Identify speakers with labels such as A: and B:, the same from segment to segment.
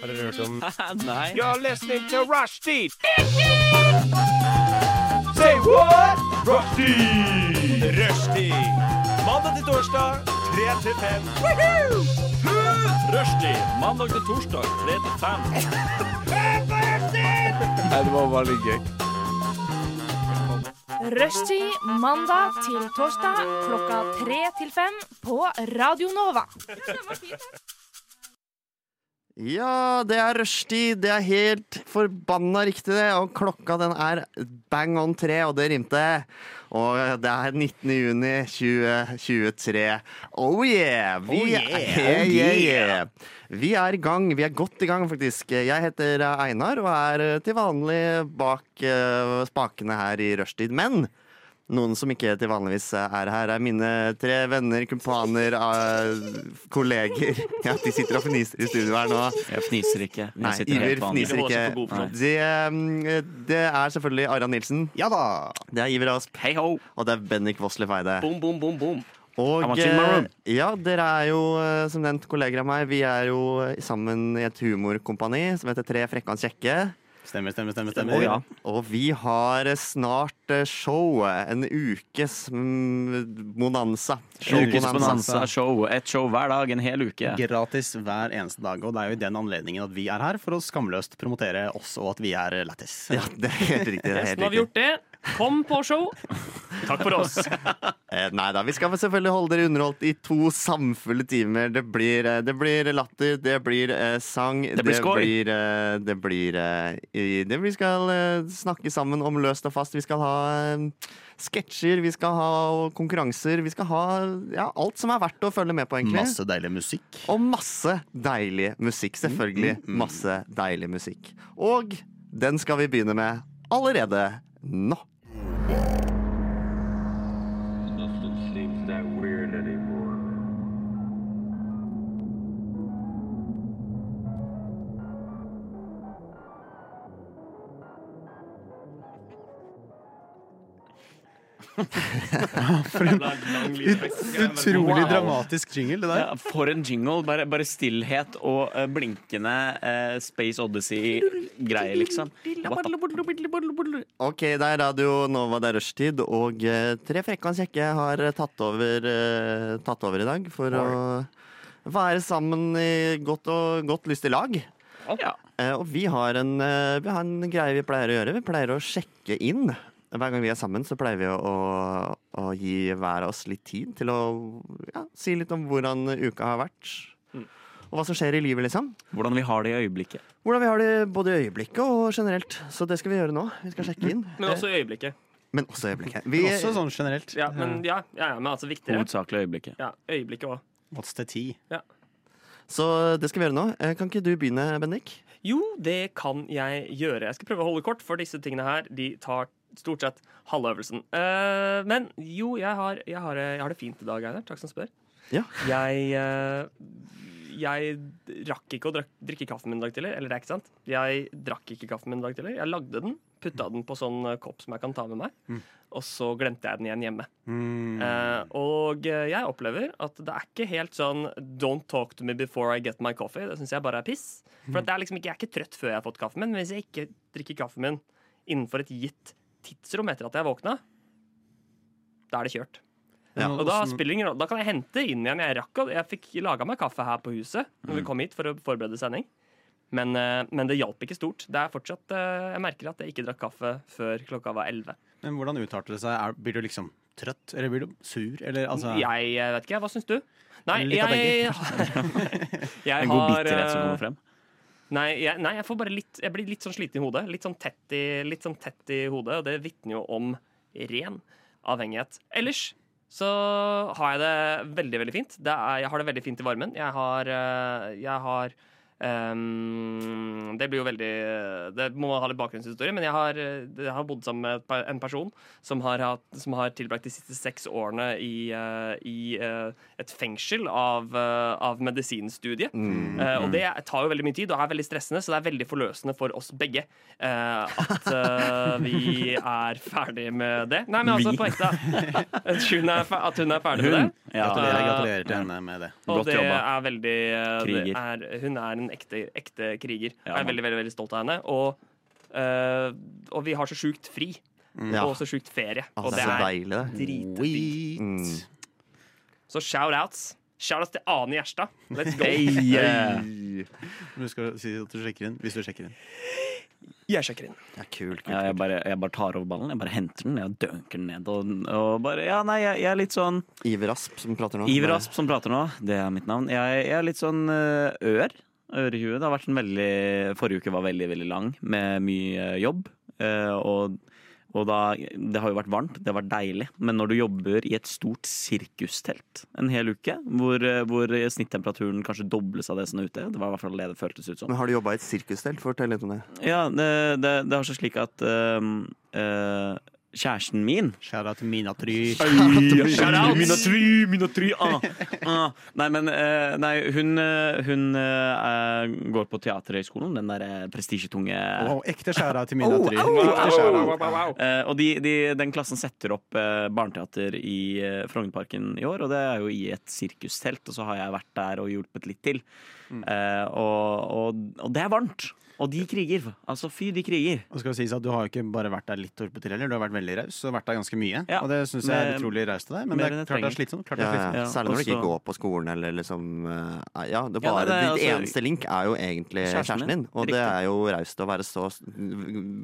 A: Har dere hørt om
B: Nei.
C: You're listening to Rushdie. Say what? Rushdie. Rushdie. Mandag til torsdag, 3 til 5.
B: Rushdie mandag til torsdag 3 til 5.
D: Rushtid mandag til torsdag klokka tre til fem på Radio Nova.
E: Ja, det er rushtid. Det er helt forbanna riktig, det. Og klokka den er bang on tre, og det rimte. Og det er 19. juni 2023. Oh yeah! Vi, yeah, yeah, yeah. vi er i gang. Vi er godt i gang, faktisk. Jeg heter Einar og er til vanlig bak eh, spakene her i rushtid. Men noen som ikke til vanligvis er her, er mine tre venner, kumpaner, eh, kolleger. Ja, de sitter og fniser i studio her nå.
B: Jeg fniser ikke. Vi
E: Nei,
B: sitter helt
E: Iver
B: vanlig.
E: fniser
B: Det var også
E: ikke.
B: på god
E: Det, eh, det er selvfølgelig Aran Nilsen. Ja da Det er Iver Asp.
B: plan. Hei ho!
E: Og det er Bennik Voslef Eide.
B: Bom, bom, bom, bom. I'm
E: Og
B: watching my room.
E: eh, ja, dere er jo eh, som nevnt kolleger av meg. Vi er jo eh, sammen i et humorkompani som heter Tre frekke og en kjekke.
F: Stemmer, stemmer, stemmer.
B: Å
F: stemmer.
B: ja.
E: Og vi har eh, snart eh, show. En ukes mm, bonanza.
B: Ukes
E: Showbonanza.
B: bonanza show. Et show hver dag, en hel uke.
F: Gratis hver eneste dag. Og det er jo i den anledningen at vi er her for å skamløst promotere oss og at vi er lættis.
E: Ja, det er helt riktig. Det er helt
G: Nå har vi
E: riktig.
G: gjort det. Kom på show. Takk for oss.
E: Eh, Nei da, vi skal selvfølgelig holde dere underholdt i to samfulle timer. Det blir, eh, det blir latter, det blir eh, sang, det
B: blir skål.
E: blir, eh, det blir eh, i- det, Vi skal eh, snakke sammen om løst og fast. Vi skal ha eh, sketsjer, vi skal ha konkurranser. Vi skal ha ja, alt som er verdt å følge med på, egentlig.
F: Masse deilig musikk.
E: Og masse deilig musikk. Selvfølgelig masse deilig musikk. Og den skal vi begynne med allerede nå.
H: Nothing seems that weird anymore.
F: Utrolig dramatisk jingle, det
B: Ja, for en jingle. Bare, bare stillhet og eh, blinkende eh, Space Odyssey-greie, liksom. What the-
E: Ok, det er Radio Nova, det er rushtid, og eh, Tre frekke og en kjekke har eh, tatt over, eh, tatt over i dag for å være sammen i godt og godt lystig lag.
B: Ja.
E: Eh, og vi har, en, eh, vi har en greie vi pleier å gjøre. Vi pleier å sjekke inn. Hver gang vi er sammen, så pleier vi å, å, å gi hver av oss litt tid til å ja, si litt om hvordan uka har vært.
G: Mm.
E: Og hva som skjer i livet, liksom.
B: Hvordan vi har det i øyeblikket.
E: Hvordan vi har det både i øyeblikket og generelt. Så det skal vi gjøre nå. Vi skal sjekke inn.
G: Men også i øyeblikket.
E: Men også øyeblikket.
F: Men
E: Vi,
F: Også sånn generelt.
G: Ja, men ja, ja, ja, men altså viktigere.
B: Hovedsakelig øyeblikket.
G: Ja, øyeblikket òg.
F: What's the tea?
E: Så det skal vi gjøre nå. Eh, Kan ikke du begynne, Bendik?
G: Jo, det kan jeg gjøre. Jeg skal prøve å holde kort, for disse tingene her de tar stort sett halve øvelsen. Eh, men jo, jeg har, jeg, har, jeg har det fint i dag, Einar. Takk som spør.
E: Ja.
G: Jeg, eh, jeg rakk ikke å drak, drikke kaffen min i dag tidlig. Eller det er ikke sant. Jeg drakk ikke kaffen min i dag tidlig. Jeg lagde den, putta den på sånn eh, kopp som jeg kan ta med meg, og så glemte jeg den igjen hjemme.
F: Mm.
G: Eh, og eh, jeg opplever at det er ikke helt sånn Don't talk to me before I get my coffee. Det syns jeg bare er piss. For at det er liksom ikke, jeg er ikke trøtt før jeg har fått kaffen min, men hvis jeg ikke drikker kaffen min innenfor et gitt tidsrom etter at jeg våkna, da er det kjørt.
E: Ja,
G: Og da, spiller det ingen rolle. da kan jeg hente inn igjen. Jeg rakk å- Jeg fikk laga meg kaffe her på huset Når vi kom hit for å forberede sending. Men, eh, men det hjalp ikke stort. Det er fortsatt, eh, Jeg merker at jeg ikke drakk kaffe før klokka var elleve.
F: Men hvordan uttalte det seg? Er, blir du liksom trøtt, eller blir du sur, eller altså
G: Jeg eh, vet ikke, hva syns du? Nei,
F: Litt av
G: jeg, jeg
B: En god bitterhet
G: eh,
B: som kommer frem.
G: Nei, jeg, nei jeg, får bare litt, jeg blir litt sånn sliten i hodet. Litt sånn tett i, litt sånn tett i hodet, og det vitner jo om ren avhengighet. Ellers så har jeg det veldig, veldig fint. Det er, jeg har det veldig fint i varmen. Jeg har, eh, jeg har ehm, det blir jo veldig Det må ha litt bakgrunnshistorie, men jeg har, eh, jeg har bodd sammen med et par- en person som har, hatt, som har tilbrakt de siste seks årene i, eh, i eh, et fengsel av, eh, av medisinstudiet. Eh, og det tar jo veldig mye tid og er veldig stressende, så det er veldig forløsende for oss begge eh, at eh, vi er ferdig med det. Nei, men altså, på ekte. At hun er, fe- at hun er ferdig med det.
B: Ja,
F: Gratulerer, gratulerer til henne med det.
G: Og
B: Godt
G: det
B: jobba.
G: er veldig eh, det er, Hun er en ekte, ekte kriger.
B: Ja,
G: jeg er
B: man.
G: veldig, veldig, veldig stolt av henne. Og, eh, og vi har så sjukt fri.
B: Mm.
E: Ja.
G: Og så sjukt ferie.
E: Å,
G: og
E: det er så deilig, det.
F: Dritdigg.
E: Mm.
G: Så shout-outs. Shout-outs til Ane Gjerstad. Let's go.
B: Yeah.
F: Du skal si at du sjekker inn, hvis du sjekker inn.
G: Jeg sjekker inn.
E: Ja, kult, kult.
B: Ja, jeg, bare, jeg bare tar over ballen. Jeg bare henter den, jeg dunker den ned. Og, og bare, ja, nei, jeg, jeg er litt sånn
E: Iver Asp som prater nå.
B: Iver Asp som prater nå, det er mitt navn. Jeg, jeg er litt sånn eh, ør. Ørehue. Det har vært en veldig Forrige uke var veldig, veldig lang med mye eh, jobb. Eh, og og da, det har jo vært varmt, det har vært deilig, men når du jobber i et stort sirkustelt en hel uke, hvor, eh, hvor snittemperaturen kanskje dobles av det som er ute, det var i hvert fall det det føltes ut som.
E: Men har du jobba i et sirkustelt? Fortell litt om det.
B: Ja, det, det, det har så slik at ehm, eh, kjæresten min
F: Skjæra til mina try.
B: Shout-out! Ah, ah. Nei, men eh, nei, hun, eh, hun eh, er- går på Teaterhøgskolen, den der eh, prestisjetunge
F: Wow, ekte skjæra til mina try.
G: Wow, wow, wow, wow, wow.
B: Eh, Og de, de, den klassen setter opp eh, barneteater i eh, Frognerparken i år, og det er jo i et sirkustelt, og så har jeg vært der og hjulpet litt til. Eh, og, og, og det er varmt! Og de kriger. Altså, fy, de kriger.
F: Og skal det sies at Du har jo ikke bare vært der litt, Torpe til, heller, du har vært veldig raus og vært der ganske mye.
B: Ja,
F: og Det syns jeg er
B: men-
F: utrolig raust av deg, men
B: mer
F: det
B: enn
F: er
B: jeg
F: klart det er
B: trenger.
F: slitsomt. Klart det
E: Ja,
F: er
E: ja.
F: slitsomt.
E: ja.
B: Ja,
E: Særlig når du ikke
B: også-
E: går på skolen eller liksom eh, Ja, det er
B: Ja,
E: bare
B: nei, det er
E: ditt
B: altså-
E: eneste link er jo egentlig
B: Kjæresten
E: kjæresten
B: din.
E: din. Og det
B: Riktig.
E: er jo raust å være så og så
B: Men-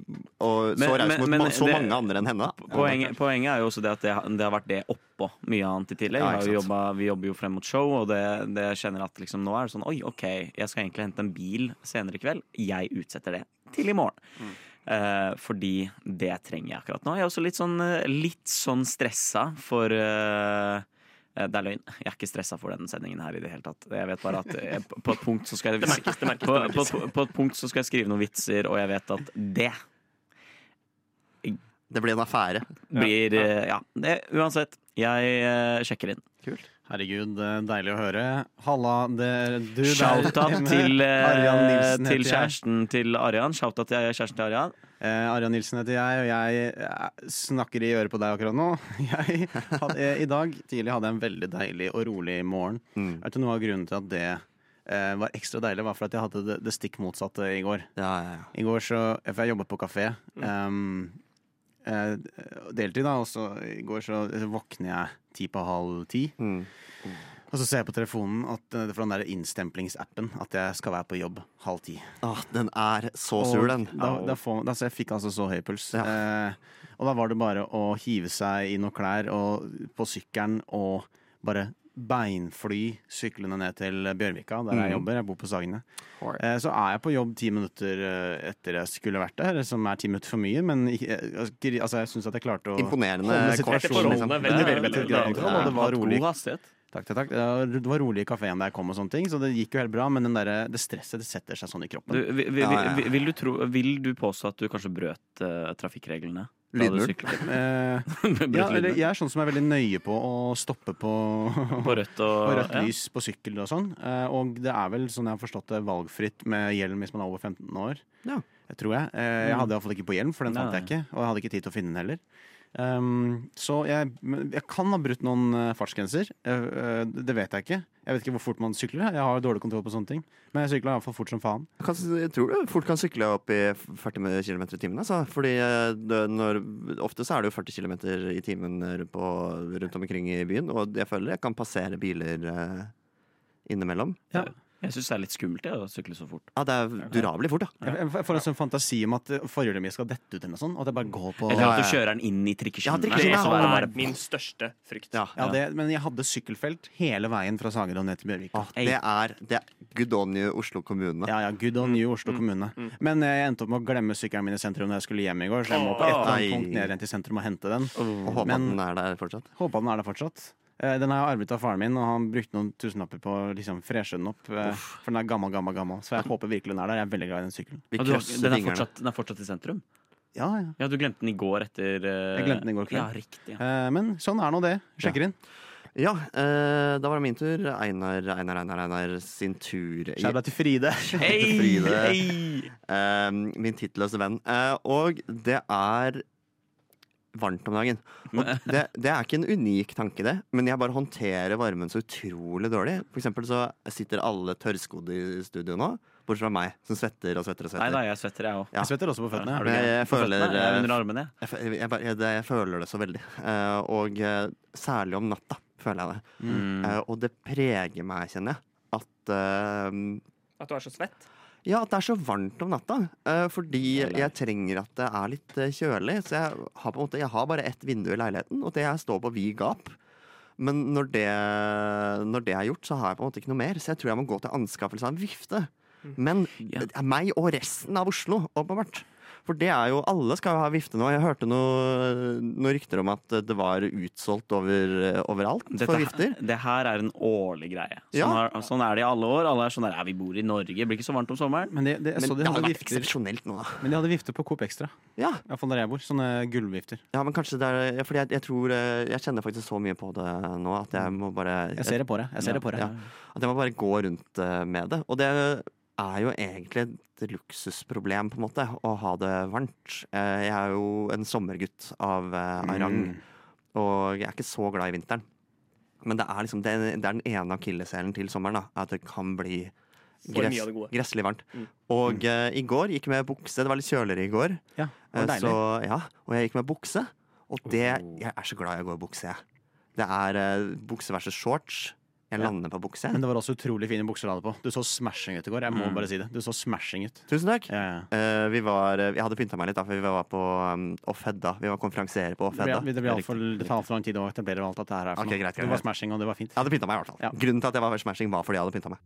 E: raus
B: men-
E: mot
B: men
E: ma- så
B: det-
E: mange andre enn henne. da.
B: Poenget, poenget er jo også det at det, det har vært det oppå mye annet i tillegg.
E: Ja,
B: Vi har
E: ikke
B: jo
E: sant.
B: jobbet- vi jobber jo frem mot show, og det, det jeg kjenner at liksom nå er det sånn Oi, OK, jeg skal egentlig hente en bil senere i kveld. Jeg utsetter det til i morgen.
E: Mm.
B: Eh, fordi det trenger jeg akkurat nå. Jeg er også litt sånn, eh, litt sånn stressa for eh, eh, det er løgn. Jeg er ikke stressa for denne sendingen her i det hele tatt. Jeg vet bare at eh, på- på et punkt så skal jeg på, på, på et punkt så skal jeg skrive noen vitser, og jeg vet at det
E: Det blir en affære.
B: blir eh, Ja, det, uansett. Jeg eh, sjekker inn.
F: Herregud, det er deilig å høre. Halla, det er du der
B: Shout-out
F: hjemme.
B: til, eh,
F: Arian Nilsen
B: til
F: heter jeg.
B: kjæresten til Arian. Shout-out til kjæresten til Arian.
F: Eh, Arian Nilsen heter jeg, og jeg eh, snakker i øret på deg akkurat nå. Jeg hadde, eh, I dag tidlig hadde jeg en veldig deilig og rolig morgen.
B: Mm.
F: Vet du, Noe av grunnen til at det eh, var ekstra deilig, var for at jeg hadde det, det stikk motsatte i går.
E: Ja, ja, ja.
F: I går så, For jeg jobbet på kafé. ehm, eh, deltid, da. Og så i går så våkner jeg ti på halv ti.
B: Mm.
F: Og så ser jeg på telefonen at, eh, fra den der innstemplingsappen at jeg skal være på jobb halv ti.
E: Åh, den er så
F: Og
E: sur, den.
F: Da, da får, da, så jeg fikk altså så høy puls.
E: Ja.
F: Eh, og da var det bare å hive seg i noen klær og på sykkelen og bare beinfly syklene ned til Bjørvika, der
E: Mm.
F: jeg jobber. Jeg bor på Sagene. Eh, så er jeg på jobb ti minutter eh, etter jeg skulle vært der, som er ti minutter for mye, men ikke- eh, altså, jeg syns at jeg klarte å
E: Imponerende
F: holde
E: kort.
F: situasjonen liksom.
G: Veldig,
F: Veldig,
G: veldig,
F: veldig grei
G: veldig bra.
F: kontroll, og det var
B: Hatt
F: rolig.
B: God hastighet.
F: Takk, takk, takk. Det var- Det var rolig i kafeen da jeg kom, og sånne ting, så det gikk jo helt bra, men den der, det stresset det setter seg sånn i kroppen.
B: Du, vi, vi,
E: Ja, ja.
B: vi, vil, du tro, vil du påstå at du kanskje brøt eh, trafikkreglene? da du
E: Lydmuren.
B: syklet?
F: Eh,
B: brøt
F: Ja, eller
B: lydmuren?
F: jeg er sånn som er veldig nøye på å stoppe på,
B: På rødt og
F: på rødt
B: ja.
F: lys på sykkel og sånn. Eh, Og det er vel, sånn jeg har forstått det, valgfritt med hjelm hvis man er over 15 år.
E: Ja.
F: Jeg tror jeg. Eh, Jeg hadde iallfall ikke på hjelm, for den fant
B: Mm. Nei.
F: jeg ikke. Og jeg hadde ikke tid til å finne den heller. Ehm, så jeg, men jeg kan ha brutt noen eh, fartsgrenser. Eh, eh, Det vet jeg ikke. Jeg vet ikke hvor fort man sykler. Jeg har dårlig kontroll på sånne ting. Men jeg sykla iallfall fort som faen.
E: Kan, jeg tror du fort kan sykle opp i 40 km i timen. Altså. Fordi eh, det, når, ofte så er det jo 40 km i timen rundt, på, rundt omkring i byen, og jeg føler jeg kan passere biler eh, innimellom.
B: Jeg syns det er litt skummelt jeg, å sykle så fort.
E: Ja, det er durabelig fort, da.
F: Jeg jeg får en sånn fantasi om at eh, forhjulet mitt skal dette ut eller noe sånt. Og at jeg bare går på
B: Eller
E: Ja,
B: at du
E: ja,
B: kjører den inn i
E: Ja,
B: trikkeskjønnen.
G: Det
E: trikkeskjønnen,
B: så
E: ja.
B: er det
G: er
B: bare-
G: min største frykt.
E: Ja.
F: Ja, det, men jeg hadde sykkelfelt hele veien fra Sagerdal ned til Bjørvika.
E: Ah, det, er, det er good on you, Oslo kommune.
F: Ja, ja, good
E: Mm,
F: on you, Oslo kommune. Men eh, jeg endte opp med å glemme sykkelen min i sentrum når jeg skulle hjem i går, så jeg må på et eller
E: Åh.
F: annet punkt ned igjen til sentrum og hente den.
E: Og håper at
F: Men-
E: den er der fortsatt.
F: Håpa den er der fortsatt. Eh, Den har jeg arvet av faren min, og han brukte noen tusenlapper på å liksom freshe den opp. eh, For den er gammel, gammel, gammel. Så jeg håper virkelig den er der. Jeg er veldig glad i den sykkelen.
E: Vi
B: Ja, du har-
E: krysser
B: Den er
E: fingrene.
B: fortsatt, den er fortsatt i sentrum?
F: Ja, ja.
B: Ja, du glemte den i går etter eh,
F: Jeg glemte den i går kveld.
B: Ja, riktig. Ja.
F: Eh, Men sånn er nå det. Sjekker inn.
E: Ja, eh, da var det min tur. Einar, Einar, Einar, Einar sin tur. i-
F: Skjerp deg til Fride.
E: til Fride.
B: Hei, hei.
E: Eh, min tittelløse venn. Eh, og det er varmt om dagen. Og det, det er ikke en unik tanke, det, men jeg bare håndterer varmen så utrolig dårlig. For eksempel så sitter alle tørrskodde i studio nå, bortsett fra meg, som svetter og svetter og
B: Nei
E: svetter.
B: da, jeg svetter, jeg òg.
E: Ja.
F: Jeg svetter også på
B: Er
F: føttene.
B: du
F: Er du
E: Men
F: gæren?
E: jeg, jeg føler eh,
B: Jeg er under armene, jeg.
E: jeg, fø- jeg, bare- jeg, det- jeg føler det så veldig. Eh, og eh, særlig om natta føler jeg det.
B: Mm.
E: Eh, og det preger meg, kjenner jeg. At, eh,
G: At du er så svett.
E: ja, at det er så varmt om natta. eh, fordi jeg trenger at det er litt eh, kjølig. Så jeg har, på en måte, jeg har bare ett vindu i leiligheten, og det jeg står på vid gap. Men når det, når det er gjort, så har jeg på en måte ikke noe mer. Så jeg tror jeg må gå til anskaffelse av en vifte. Men
B: Ja.
E: det er meg og resten av Oslo, åpenbart. For det er jo, alle skal jo ha vifte nå. Jeg hørte noe- noen rykter om at det var utsolgt over, eh, overalt for
B: Dette,
E: vifter.
B: det her er en årlig greie. Sånn,
E: Ja.
B: har, sånn er det i alle år. Alle er sånn der, ja, Vi bor i Norge, det blir ikke så varmt om sommeren.
F: Men, det, det, jeg
E: Men
F: så
E: det
F: de
E: hadde
F: hadde
E: vært
F: vifter,
E: eksepsjonelt nå, da.
F: men de hadde vifter på Coop Extra.
E: Ja,
F: Iallfall der jeg bor. Sånne gulvvifter.
E: ja men kanskje det er ja, Fordi jeg, jeg tror eh, Jeg kjenner faktisk så mye på det nå at jeg må bare
F: Jeg ser det på deg. Jeg ser det på deg.
E: ja, at jeg må bare gå rundt eh, med det. Og det er jo egentlig et luksusproblem, på en måte, å ha det varmt. Eh, Jeg er jo en sommergutt av eh, av rang,
G: Mm.
E: og jeg er ikke så glad i vinteren. Men det er liksom det, det er den ene akilleshælen til sommeren, da, at det kan bli
G: For mye av det gode. Mm.
E: gresslig varmt. Og eh, i går gikk jeg med bukse. Det var litt kjøligere i går.
F: Ja, det
E: Eh,
F: var
E: Så,
F: deilig.
E: ja, og jeg gikk med bukse, og det
G: Oh.
E: Jeg er så glad jeg går i bukse, jeg. Det er eh, bukse versus shorts. Jeg lander på bukse.
F: Men det var også utrolig fine bukser du hadde på. Du så smashing ut i går. Jeg må bare si det. Du så smashing ut.
E: Tusen takk.
F: Ja, ja.
E: Eh, vi var, jeg hadde pynta meg litt, da, for vi var på um, Off Hedda. Vi var konferansiere på Off
F: Det blir-
E: Hedda.
F: det blir alt for, det tar altfor lang tid å etablere alt dette her. er for
E: Ok,
F: noe.
E: greit, greit,
F: Det var
E: greit.
F: smashing, og det var fint.
E: Jeg hadde pynta meg, i hvert fall.
F: Ja.
E: Grunnen til at jeg var ved smashing, var fordi jeg hadde pynta meg.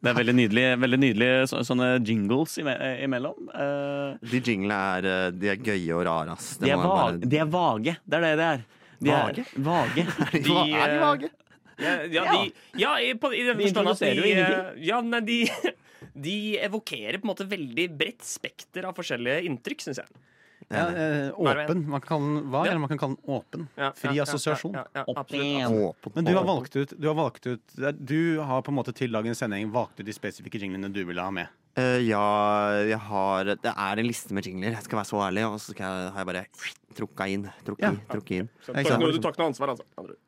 B: Det er veldig nydelige, veldig nydelige så, sånne jingles ime, imellom. Eh,
E: De jinglene er, eh, de er gøye og rare, ass. Det
B: de, er
E: må jeg
B: vage,
E: bare-
B: de er vage. Det er det det er. De er
E: Vage?
B: vage.
E: Er de,
G: de,
E: er de
G: eh,
E: vage?
G: Ja, ja, de, ja i, på, i den
B: De
G: forstand at
B: introduserer
G: de,
B: jo ingenting.
G: eh, ja, nei, de, de evokerer på en måte veldig bredt spekter av forskjellige inntrykk, syns jeg.
F: Ja, eh,
G: Hver og en.
F: åpen. Man kan kalle den hva,
G: Ja.
F: eller man kan kalle den åpen.
G: Ja,
F: Fri
G: ja, ja,
F: assosiasjon.
G: Ja, ja, ja, absolutt.
E: Åpen-
F: Men du har
E: åpen.
F: valgt ut, du har valgt ut Du har på en måte til dagens sending valgt ut de spesifikke jinglene du ville ha med.
E: Eh, ja, jeg har Det er en liste med jingler, jeg skal være så ærlig. Og så skal jeg, har jeg bare trukka inn. Trukket,
F: Ja.
E: inn, trukket inn.
G: Så
F: Ikke
G: tar
F: sant?
G: ikke noe- Du tar ikke noe ansvar, altså. andre ord.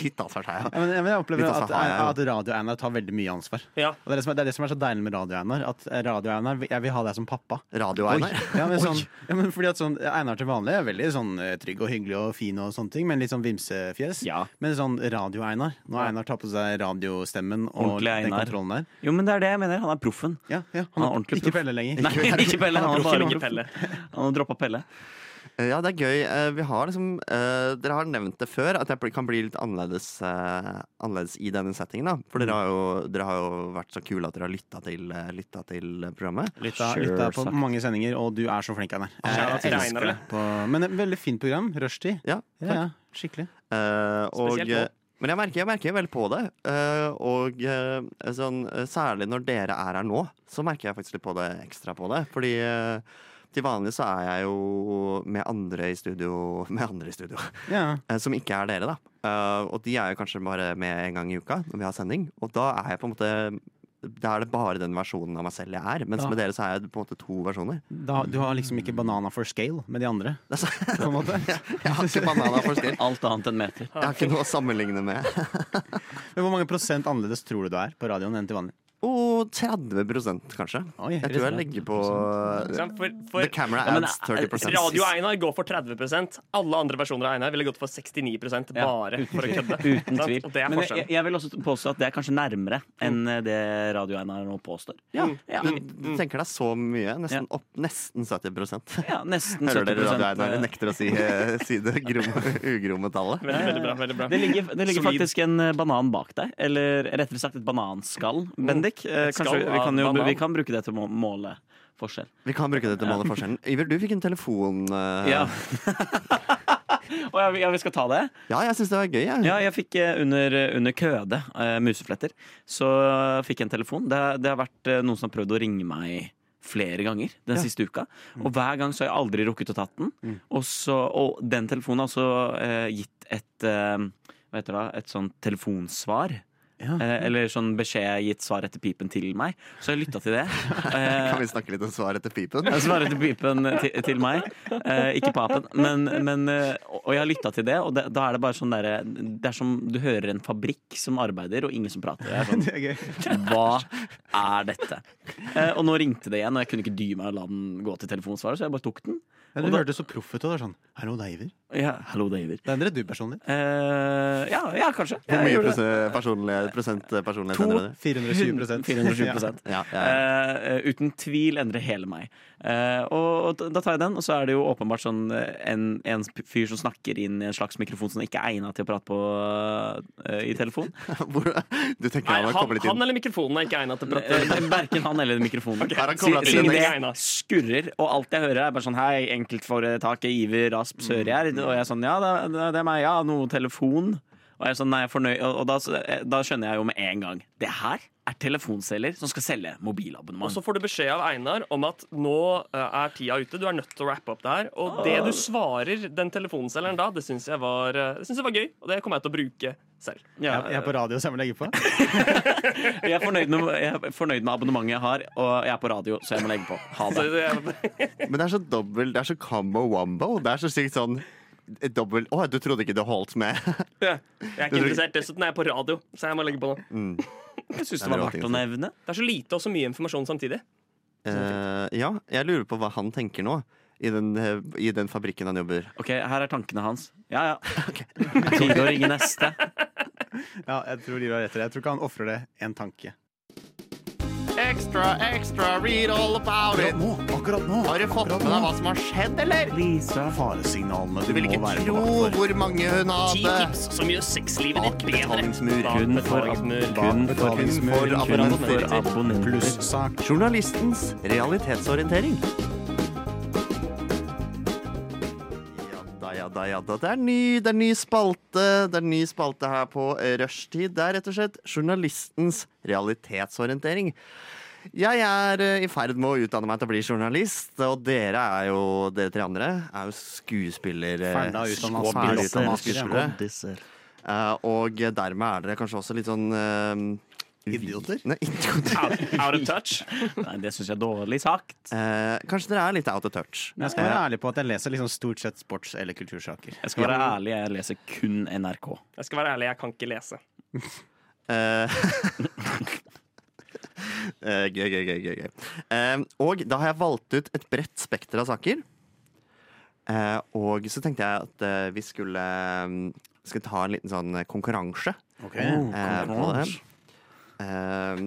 E: Litt ansvar tar jeg.
F: Ja, men, men jeg opplever
E: Litt av
F: at,
E: samme har jeg,
F: at radio-Einar tar veldig mye ansvar.
G: Ja.
F: Og det, er det, som er, det er det som er så deilig med radio-Einar. At radio-Einar Jeg vil ha deg som pappa.
E: Radio-Einar.
F: Oi. Ja, men sånn, ja, men fordi at sånn, Einar til vanlig er veldig sånn eh, trygg og hyggelig og fin, og sånne ting, men litt sånn vimsefjes.
B: Ja.
F: Men sånn radio-Einar Når Einar tar på seg radiostemmen og
B: Ordentlig
F: den
B: Einar.
F: kontrollen der.
B: Jo, men det er det jeg mener. Han er proffen.
F: Ja, ja,
B: Han
F: han,
B: er
F: er
B: ordentlig
F: ikke
B: proff.
F: Pelle lenger.
B: Nei, ikke Pelle. Han er
G: Han var
B: bare
G: ikke
B: proff.
G: Pelle.
B: Han har droppa Pelle.
E: Ja, det er gøy. Eh, Vi har liksom, eh, dere har nevnt det før, at jeg bli- kan bli litt annerledes, eh, annerledes i denne settingen. Da. For
G: Mm.
E: dere har, jo, dere har jo vært så kule at dere har lytta til, eh, lytta til eh, programmet.
F: Litt av, litt av på
B: Sjølsagt.
F: mange sendinger, og du er så flink, Einar.
G: Shout out til
F: Jeg elsker
G: Einar,
F: det. På- Men et veldig fint program. Rushtid.
E: Ja,
F: Ja, ja, skikkelig.
E: Eh, og,
G: Spesielt nå.
E: Men jeg merker, jeg merker vel på det. Eh, og eh, sånn, eh, særlig når dere er her nå, så merker jeg faktisk litt på det ekstra på det. Fordi eh, til vanlig så er jeg jo med andre i studio Med andre i studio.
F: Ja.
E: eh, Som ikke er dere, da. Eh, og de er jo kanskje bare med en gang i uka når vi har sending. Og da er jeg på en måte Da er det bare den versjonen av meg selv jeg er. Mens
F: Ja.
E: med dere så er jeg på en måte to versjoner.
F: Da, du har liksom ikke banana for scale med de andre,
E: Altså,
F: på en måte.
E: jeg har ikke banana for stell.
B: Alt annet enn meter.
E: Jeg har ikke noe å sammenligne med.
F: Men hvor mange prosent annerledes tror du du er på radioen enn til vanlig?
E: Og 30 Oh, kanskje.
F: Oi,
E: jeg tror jeg
F: rett og slett.
E: legger på eh,
G: Ikke sant? For,
E: The
G: for
E: camera
B: Ja, men
E: adds
B: det er-
E: 30
G: Radio-Einar går for 30 Alle andre versjoner av Einar ville gått for 69
B: Ja,
G: bare for å kødde.
B: Uten
G: Sant?
B: tvil.
G: Og det er
B: Men jeg,
G: forskjellen.
B: jeg vil også påstå at det er kanskje nærmere enn eh, det Radio-Einar nå påstår.
E: Ja,
B: Ja.
E: du, du tenker deg så mye. Nesten, opp, nesten 70
B: Ja, nesten 70
E: Hører dere radioeierne nekter å si, eh, si det gromme, ugromme tallet?
G: Veldig, veldig bra. veldig bra
B: Det ligger, det ligger
G: Solid.
B: faktisk en eh, banan bak deg. Eller rettere sagt et bananskall, Bendik. Eh,
G: Et
B: Kanskje
G: skall
B: vi kan,
G: av
B: jo,
G: banan.
B: vi kan bruke det til å må- måle forskjell.
E: Vi kan bruke det til å måle forskjellen. Iver, du fikk en telefon. eh,
B: Ja. Og ja, vi- ja, vi skal ta det?
E: ja, jeg syns det var gøy. Jeg.
B: Ja, jeg fikk eh, under, under køde, eh, musefletter, så fikk jeg en telefon. Det, det har vært eh, noen som har prøvd å ringe meg flere ganger den siste uka.
F: Mm.
B: Og hver gang så har jeg aldri rukket å tatt den. Og, så, og den telefonen har også eh, gitt et eh, Hva heter det? da? Et sånn telefonsvar.
F: Ja.
B: Eh, eller sånn beskjed gitt svar etter pipen til meg. Så jeg lytta til det. Eh,
E: Kan vi snakke litt om svaret til pipen?
B: jeg svarer til pipen til, til meg. Eh, ikke papen. Men, men, eh, og jeg har lytta til det, og det, da er det bare sånn derre Det er som du hører en fabrikk som arbeider, og ingen som prater. Jeg er sånn,
F: Det er gøy.
B: hva er dette? Eh, og nå ringte det igjen, og jeg kunne ikke dy meg å la den gå til telefonsvaret, så jeg bare tok den. Og
F: Ja, du
B: da-
F: hørtes så proff ut. og det er Sånn. Hallo, det er Iver.
B: Ja, hallo, David.
F: Det endrer du personlig.
B: Eh, ja, ja, kanskje.
E: Hvor
B: Jeg
E: mye
B: gjorde det.
E: prosent- personlighet, prosent eh, personlighet
B: To.
E: endrer det?
F: 420
B: 420
E: Ja, ja, ja.
B: Eh, uten tvil endrer hele meg. Eh, og, og da tar jeg den, og så er det jo åpenbart sånn eh, en, en fyr som snakker inn i en slags mikrofon som ikke er egna til å prate på eh, i telefon.
E: Hvor, du tenker
G: Nei,
E: han har
G: han,
E: kommet litt
G: han
E: inn?
G: eller mikrofonen er ikke egnet til å prate.
B: Uh, verken han eller mikrofonen.
E: her har han
B: Si-
E: koblet til
B: Siden
E: den
B: det
G: ene.
B: skurrer, og alt jeg hører er bare sånn Hei, enkeltforetaket Iver
E: Mm,
B: Rasp Sørgjerd. Og jeg er sånn Ja, det, det- det er meg. Ja, noe telefon. Og jeg er sånn, nei, jeg er fornøyd Og, og da, eh, da skjønner jeg jo med en gang. Det her er telefonselger som skal selge
G: Og
B: mobilabonnement.
G: så får du beskjed av Einar om at nå eh, er tida ute, du er nødt til å rappe opp det her. Og
B: Ah.
G: det du svarer den telefonselgeren da, det syns jeg, var, eh, det synes jeg var gøy, og det kommer jeg til å bruke selv.
B: Ja,
F: Jeg er på radio, så jeg må legge på.
B: Jeg er, fornøyd med, jeg er fornøyd med abonnementet jeg har, og jeg er på radio, så jeg må legge på. Ha
G: Så
B: det.
G: jeg,
E: Men det er så dobbelt, det er så combo wombo. Det er så sykt sånn et dobbelt Å, du trodde ikke det holdt med?
G: jeg er ikke interessert. Dessuten er jeg på radio, så jeg må legge på nå.
B: Mm. Jeg syns
E: det
B: det
E: var
B: var
E: ting
B: verdt å
E: som-
B: nevne.
G: Det er så lite og så mye informasjon samtidig.
E: Eh, ja, jeg lurer på hva han tenker nå. I den, eh, I den fabrikken han jobber.
B: Ok, Her er tankene hans. Ja, ja. Tide å ringe neste.
F: Ja, jeg tror Iver har rett i det. Jeg tror ikke han ofrer det en tanke.
E: Extra, extra, read all about
F: Akkurat nå! akkurat nå
E: Har du fått med deg hva som har skjedd, eller?
F: Lisa, faresignalene
E: Du vil ikke tro hvor mange hun hadde.
G: som gjør sexlivet
E: Bak betalingsmur.
B: Kun for, ab kun for,
E: for
B: kun
E: abonnenter.
B: for abonnenter.
F: Plussak.
E: Journalistens realitetsorientering. Ja da, ja da, ja da. Det er ny, det er ny spalte Det er ny spalte her på rushtid. Det er rett og slett journalistens realitetsorientering. Jeg er eh, i ferd med å utdanne meg til å bli journalist, og dere er jo, dere tre andre, er jo eh, skuespillere.
F: Ferda utdanna
E: ferdig utdanna
F: skuespillere.
E: skuespillere. Eh, Og dermed er dere kanskje også litt sånn eh,
F: Idioter?
E: Nei, idioter.
G: Out, out of touch.
B: Nei, det syns jeg er dårlig sagt.
E: Eh, kanskje dere er litt out of touch.
F: Men jeg skal være ærlig på at jeg leser liksom stort sett sports- eller kultursaker.
B: Jeg skal være ærlig, jeg leser kun NRK.
G: Jeg skal være ærlig, jeg kan ikke lese.
E: Eh, eh, Gøy, gøy, gøy. gøy, gøy. Eh, og da har jeg valgt ut et bredt spekter av saker. Eh, og så tenkte jeg at eh, vi skulle, mm, skulle ta en liten sånn konkurranse.
F: Oh.
E: eh, på det. Eh,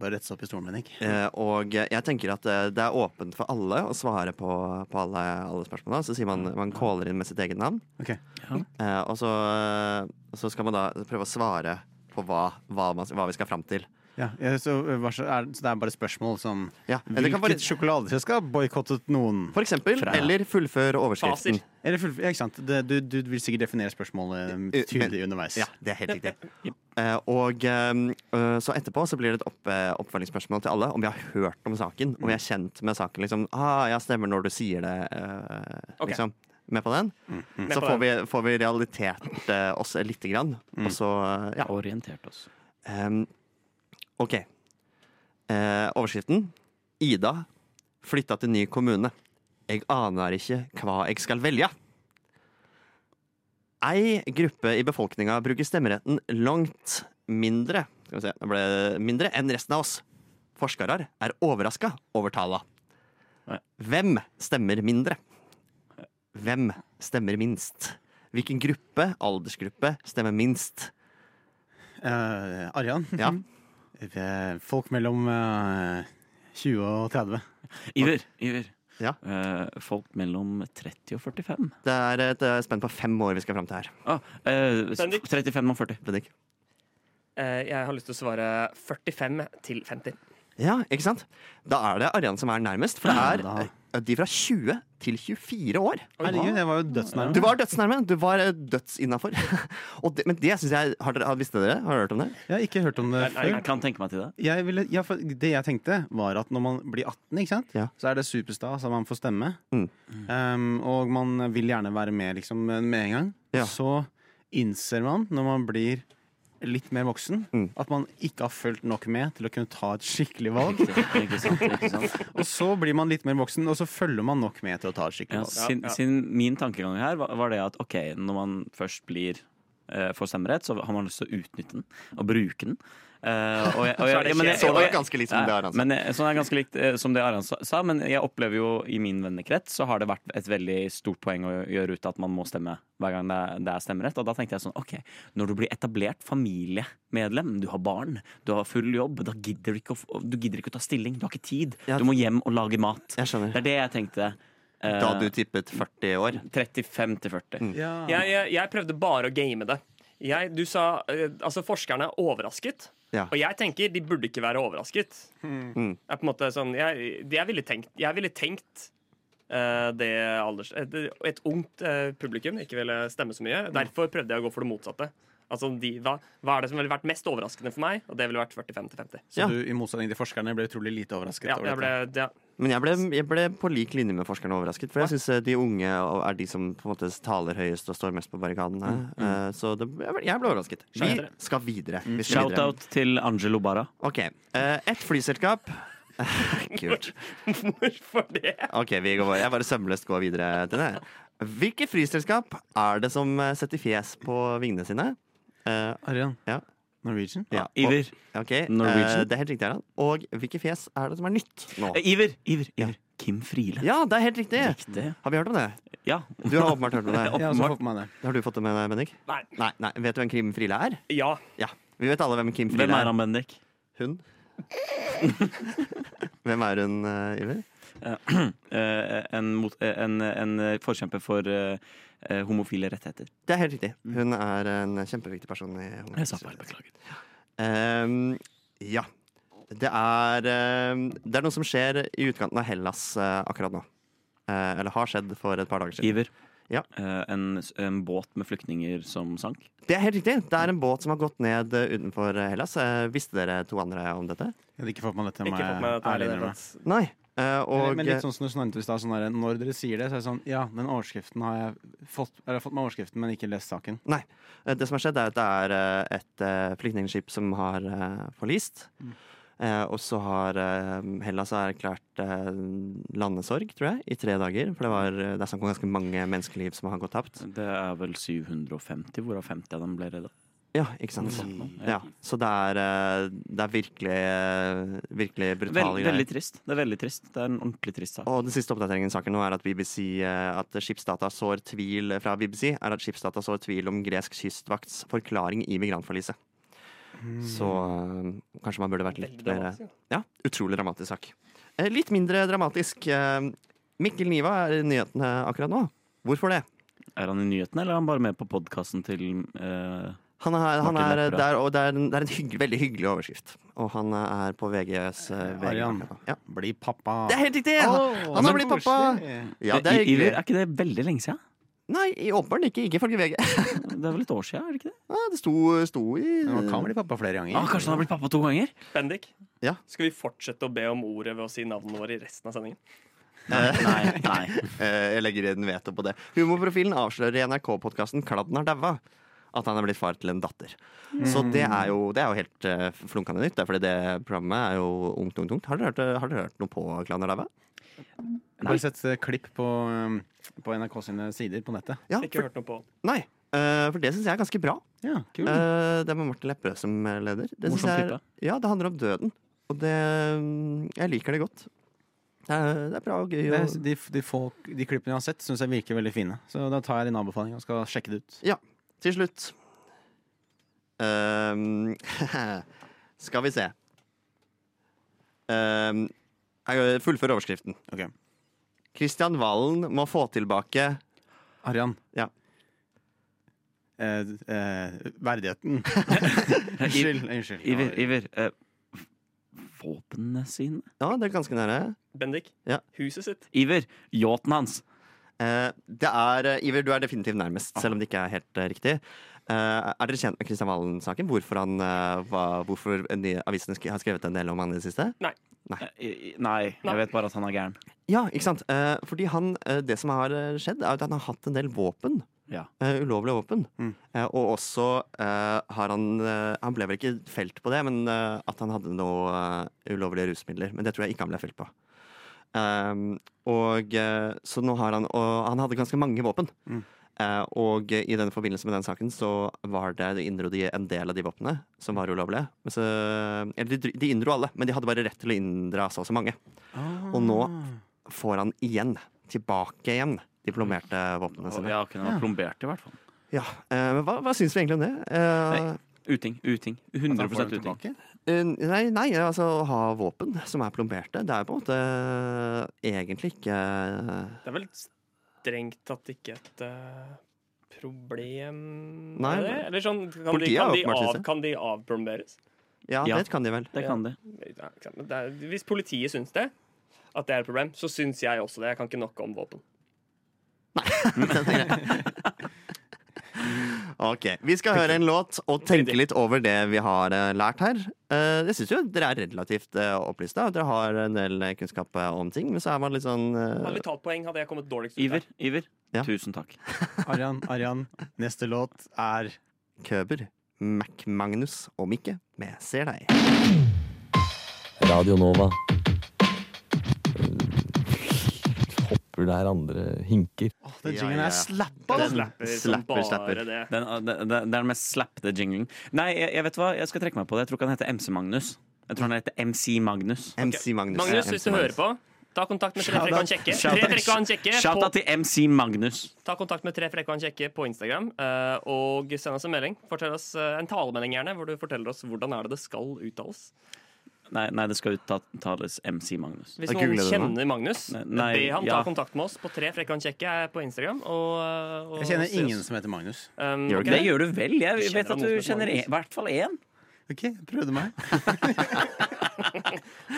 F: Bare rett seg opp i stolen, Henrik.
E: Eh, og jeg tenker at eh, det er åpent for alle å svare på, på alle, alle spørsmålene. Så sier man man caller inn med sitt eget navn.
F: Ok.
E: Eh, og så, eh, så skal man da prøve å svare på hva, hva, man, hva vi skal fram til.
F: Ja, ja, så, eh, hva så, er, så det er bare spørsmål som
E: Ja, eh, det
F: Hvilket
E: kan bare,
F: sjokoladeselskap boikottet noen?
E: for eksempel. Eller fullfør overskriften.
G: Faser.
F: Eller full, ja, ikke sant? Det, du, du vil sikkert definere spørsmålet um,
E: Eh, men-
F: tydelig underveis.
E: Ja, det er helt riktig. Eh, og eh, eh, så etterpå så blir det et opp, eh, oppfølgingsspørsmål til alle om vi har hørt om saken. Om vi er kjent med saken. Liksom, ah, ja, stemmer når du sier det. eh,
G: Ok. Mm,
E: liksom. Med på den?
G: Med
E: Så får
G: på den. Mm.
E: vi, får vi realitert eh, oss lite grann. Og så, eh, ja.
B: Orientert oss.
E: Em, OK. Eh, overskriften. Ida flytta til ny kommune. Jeg aner ikke hva jeg skal velge. Ei gruppe i befolkninga bruker stemmeretten langt mindre skal vi se, nå ble det mindre enn resten av oss. Forskere er overraska over tala.
B: Nei.
E: Hvem stemmer mindre? Hvem stemmer minst? Hvilken gruppe, aldersgruppe, stemmer minst?
F: Eh, Arian,
E: Ja.
F: eh, folk mellom eh, 20 og 30.
B: Iver. Iver.
E: Ja.
B: Eh, folk mellom 30 og 45.
E: Det er et eh, spenn på fem år vi skal fram til her.
B: Ah, eh, s-
G: Bendik.
B: 35 og 40.
E: Bendik.
G: Eh, Jeg har lyst til å svare 45 til 50.
E: Ja, ikke sant? Da er det Arian som er nærmest, for det
F: da.
E: er de fra 20 til 24 år.
F: Herregud, jeg var jo
E: Du
F: dødsnærme.
E: var dødsnærme. Du var eh, dødsinnafor. Og det- Men det syns jeg Har dere har- visste dere? Har dere hørt om det?
F: Jeg har ikke hørt om det før.
B: Jeg kan tenke meg til det.
F: Jeg ville, ja, for det jeg tenkte, var at når man blir 18, ikke sant?
E: Ja.
F: så er det superstas at man får stemme.
E: Mm.
F: Um, og man vil gjerne være med liksom, med en gang.
E: Ja.
F: Så innser man, når man blir litt mer voksen,
E: Mm.
F: at man ikke har fulgt nok med til å kunne ta et skikkelig valg.
B: Ikke sant, ikke sant.
F: og så blir man litt mer voksen, og så følger man nok med til å ta et skikkelig
B: Ja,
F: valg.
B: sin, sin, min tankegang her var, var det at ok, når man først blir eh, får stemmerett, så har man lyst til å utnytte den og bruke den. Eh, og jeg, og jeg,
G: Så er det
B: ja, men jeg-
E: Så det
B: og
E: var
B: jeg-
E: ganske likt som
B: Nei,
E: det Aran sa.
B: Men, eh, sånn er ganske likt eh, som det Aran sa- sa, men jeg opplever jo i min vennekrets så har det vært et veldig stort poeng å gjøre ut at man må stemme hver gang det er, det er stemmerett. Og da tenkte jeg sånn, ok, når du blir etablert familiemedlem, du har barn, du har full jobb, da gidder du ikke å, f- du gidder ikke å ta stilling, du har ikke tid.
E: Ja.
B: Du må hjem og lage mat.
E: Jeg skjønner.
B: Det er det jeg tenkte. eh,
E: Da du tippet 40 år.
B: 35 til
E: Mm.
B: 40.
F: Ja.
G: Jeg, jeg, jeg prøvde bare å game det. Jeg, du sa eh, Altså, forskerne er overrasket.
E: Ja.
G: Og jeg tenker de burde ikke være overrasket.
F: Hmm.
G: Jeg, er på en måte sånn, jeg, jeg ville tenkt, jeg ville tenkt eh, det alders... Et, et ungt eh, publikum ikke ville stemme så
F: Hmm.
G: mye. Derfor prøvde jeg å gå for det motsatte. Altså, de, hva, hva er det som ville vært mest overraskende for meg? Og det ville vært 45 til 50.
F: Så
E: Ja.
F: du, i motsetning til forskerne, ble utrolig lite overrasket
G: Ja,
F: over
G: jeg ble,
F: dette.
G: ja.
E: Men jeg ble, jeg ble på lik linje med forskerne overrasket. For jeg syns de unge er de som på en måte taler høyest og står mest på barrikadene.
B: Mm,
E: Eh, Så det, jeg ble- jeg ble overrasket. Vi
G: Skjønner.
E: skal videre. Vi skal videre.
B: Shout-out til Angelo Barra.
E: Ok. eh, Ett flyselskap. Kult.
G: Hvorfor det?
E: Ok, vi går bare, jeg bare sømløst går videre til det. Hvilke flyselskap er det som eh, setter fjes på vingene sine? Eh,
F: Arian,
E: ja.
F: Norwegian?
E: ja.
B: Iver.
E: Og, ok, eh,
B: Norwegian.
E: det er helt riktig, Erland. Og hvilke fjes er det som er nytt nå?
B: Eh, Iver! Iver! Iver. Kim Friele.
E: Ja, det er helt riktig!
B: Riktig.
E: Har vi hørt om det?
B: Ja.
E: Du har åpenbart hørt om det.
F: Jeg har også fått med meg det.
E: Har du fått det med deg, Bendik?
G: Nei.
E: Nei, nei. Vet du hvem Kim Friele er?
G: Ja.
E: Ja. Vi vet alle hvem Kim Friele
B: Hvem er
E: er.
B: han, Bendik?
E: Hun. hvem er hun, eh, Iver?
B: Eh, en, mot, eh, en, en eh, forkjemper for eh, eh, homofile rettigheter.
E: Det er helt riktig. Hun er en kjempeviktig person i
B: Mm. Jeg sa bare beklager.
E: Ehm, ja. Det er, ehm, det er noe som skjer i utkanten av Hellas eh, akkurat nå. Eh, eller har skjedd for et par dager siden.
B: Iver.
E: Ja.
B: Eh, en, en båt med flyktninger som sank.
E: Det er helt riktig. Det er en båt som har gått ned eh, utenfor Hellas. Eh, visste dere to andre om dette?
F: Jeg hadde ikke fått med meg dette.
G: Ikke
F: må jeg
G: fått med dette her.
F: ærlig
G: i det
F: innrømme.
G: hele tatt.
E: Nei. Eh, og,
F: men litt sånn som du snakket i stad, sånn der, når dere sier det, så er det sånn Ja, den overskriften har jeg fått, eller jeg har fått med overskriften, men ikke lest saken.
E: Nei. Eh, Det som har skjedd, er at det er eh, et eh, flyktningskip som har eh, forlist.
B: Mm.
E: Eh, Og så har eh, Hellas har erklært eh, landesorg, tror jeg, i tre dager. For det, var, eh, det er snakk om ganske mange menneskeliv som har gått tapt.
B: Det er vel 750, hvorav 50 av dem ble redda.
E: Ja, ikke sant.
B: Mm.
E: Ja, så det er, eh, det er virkelig, eh, virkelig brutale
B: Veld, veldig
E: greier.
B: trist. Det er veldig trist. Det er en ordentlig trist sak.
E: Og den siste oppdateringen i saken nå er at BBC, eh, at Skipsdata sår tvil fra BBC, er at Skipsdata sår tvil om gresk kystvakts forklaring i migrantforliset. Så eh, kanskje man burde vært litt
G: Veldig
E: mer
G: dramatisk,
E: Ja, utrolig dramatisk sak. Eh, Litt mindre dramatisk. eh, Mikkel Niva er i nyhetene akkurat nå. Hvorfor det?
B: Er han i nyhetene, eller er han bare med på podkasten til eh,
E: Han er, han
B: Martin
E: er
B: Lepperød.
E: der, og det er en, det er en hygg, veldig hyggelig overskrift. Og han er på VGs eh, VG.
F: Arian.
E: akkurat nå. Ja.
F: Bli pappa!
E: Det er helt riktig! Han,
F: Åh,
E: han
F: så
E: har blitt pappa.
F: koselig.
E: Ja, det er
B: I- Iver,
E: hyggelig.
B: er ikke det veldig lenge siden?
E: Nei, i åpenbart ikke. Ikke ifølge VG.
B: Det er vel et år siden? er det ikke det?
E: Ja, det sto, sto i
F: Men Man kan bli pappa flere ganger.
B: Ah, kanskje han har blitt pappa to ganger?
G: Bendik,
E: Ja.
G: skal vi fortsette å be om ordet ved å si navnene våre i resten av sendingen?
B: Nei, nei.
E: Eh, Jeg legger en veto på det. Humorprofilen avslører i NRK-podkasten 'Kladden har daua' at han er blitt far til en datter. Så
B: Mm.
E: det er jo, det er jo helt eh, flunkende nytt. Fordi det programmet er jo ungt, ungt, ungt. Har dere hørt, har dere hørt noe på 'Kladden har daua'?
F: Jeg har bare sett eh, klipp på, um, på NRK sine sider på nettet.
E: Ja,
G: Ikke
E: for,
G: hørt noe på.
E: nei. Eh, For det syns jeg er ganske bra.
F: Ja, kul.
E: Eh, Det er med Martin Lepperød som leder. Det synes
B: Morsom
E: jeg er,
B: type.
E: ja, det handler om døden. Og det mm, Jeg liker det godt. Det er, det er bra og gøy.
F: Det,
E: Og,
F: de, de, folk, de klippene jeg har sett, syns jeg virker veldig fine. Så da tar jeg din anbefaling og skal sjekke det ut.
E: ja, til slutt Ehm, Skal vi se. Ehm, jeg fullfører overskriften.
F: Ok.
E: Kristian Valen må få tilbake
F: Arian.
E: Ja.
F: Eh, eh, verdigheten.
B: I-
F: unnskyld. unnskyld.
B: Iver, Iver eh, f- våpnene sine?
E: Ja, det er ganske nære.
G: Bendik,
E: Ja.
G: huset sitt.
B: Iver, yachten hans.
E: Eh, det er, eh, Iver, du er definitivt nærmest, selv om det ikke er helt eh, riktig. Eh, er dere kjent med Kristian Valen-saken? Hvorfor, han, eh, hva- hvorfor nye avisene sk har skrevet en del om han i det siste?
B: Eh, i- Nei, jeg vet bare at han er gæren.
E: Ja, ikke sant? Eh, fordi han, eh, det som har eh, skjedd, er at han har hatt en del våpen.
B: Ja.
E: Eh, ulovlige våpen.
F: Mm.
E: Eh, og også eh, har han eh, Han ble vel ikke felt på det, men eh, at han hadde noe eh, ulovlige rusmidler. Men det tror jeg ikke han ble felt på. Ehm, og eh, så nå har han Og han hadde ganske mange våpen.
F: Mm.
E: Eh, og eh, i denne forbindelse med den saken så var det de inndro de en del av de våpnene som var ulovlige. Men så, eh, eller de, de inndro alle, men de hadde bare rett til å inndra så og så mange.
F: Ah.
E: Og nå- Får han igjen, tilbake igjen, de plommerte våpnene
B: Og,
E: sine.
B: ja, kunne vært plombert, i hvert fall.
E: Ja, eh, men hva, hva syns vi egentlig om det? Eh,
B: Uting. Uting. 100 uting.
F: tilbake?
E: eh, nei, nei, altså å ha våpen som er plomberte, det er på en måte eh, egentlig ikke eh,
G: Det er vel strengt tatt ikke et eh, problem
E: Nei,
G: er det?
E: men-
G: Eller sånn, kan de,
E: Politiet
G: kan,
E: har
G: de
E: åpenbart
G: av,
E: disse.
G: kan de avplomberes?
E: Ja,
B: Ja.
E: det kan de vel.
B: Det kan de.
G: Nei, ikke sant, men det er- Hvis politiet syns det, at det er et problem, så syns jeg også det. Jeg kan ikke nok om våpen.
E: Ok, Vi skal høre en låt og tenke litt over det vi har eh, lært her. Eh, jeg syns jo dere er relativt eh, opplyste. og Dere har en del eh, kunnskap eh, om ting, men så er man litt sånn eh,
G: Hadde vi talt poeng, hadde jeg kommet dårligst ut.
B: Iver,
G: her.
B: Iver.
E: Ja.
B: Tusen takk.
F: Arian, Arian, neste låt er
E: Køber, Mac-Magnus og Mikke med Ser deg.
A: Radio Nova. Hopper der andre hinker.
F: Åh, Den
E: Ja,
F: jingen
E: ja, ja.
F: er slappa!
E: Den-
G: Slapper, som
E: Slapper,
G: bare
E: slapper.
G: det.
B: Den, det, det det er den mest slappede jinglen. Nei, jeg, jeg vet hva, jeg skal trekke meg på det. Jeg tror ikke han heter MC Magnus. Jeg tror han heter MC Magnus.
E: MC Magnus.
G: Magnus,
E: Ja, MC
G: hvis du hører på, ta kontakt med Tre frekke og en kjekke.
B: Shout
G: Tre
B: out.
G: frekke og en kjekke
B: Shout
G: på
B: out til MC Magnus.
G: Ta kontakt med Tre frekke og en kjekke på Instagram, eh, og send oss en melding. Fortell oss eh, En talemelding gjerne, hvor du forteller oss hvordan er det det skal uttales.
B: Nei, nei det skal uttales MC Magnus.
G: Hvis
E: Da
G: noen
E: googler jeg det nå.
G: kjenner Magnus,
B: Nei, nei,
G: be han ta
B: ja.
G: kontakt med oss på Tre frekke og en kjekke eh, på Instagram. Og, eh, og
F: Jeg kjenner
G: se oss.
F: ingen som heter Magnus.
G: Um,
E: Gjør
G: ok.
E: du
B: Det gjør du vel. Jeg
G: Kjenner
B: vet
G: han
B: at du
G: noen som heter
B: kjenner i
G: Magnus?
B: hvert fall én.
F: Ok, prøvde meg.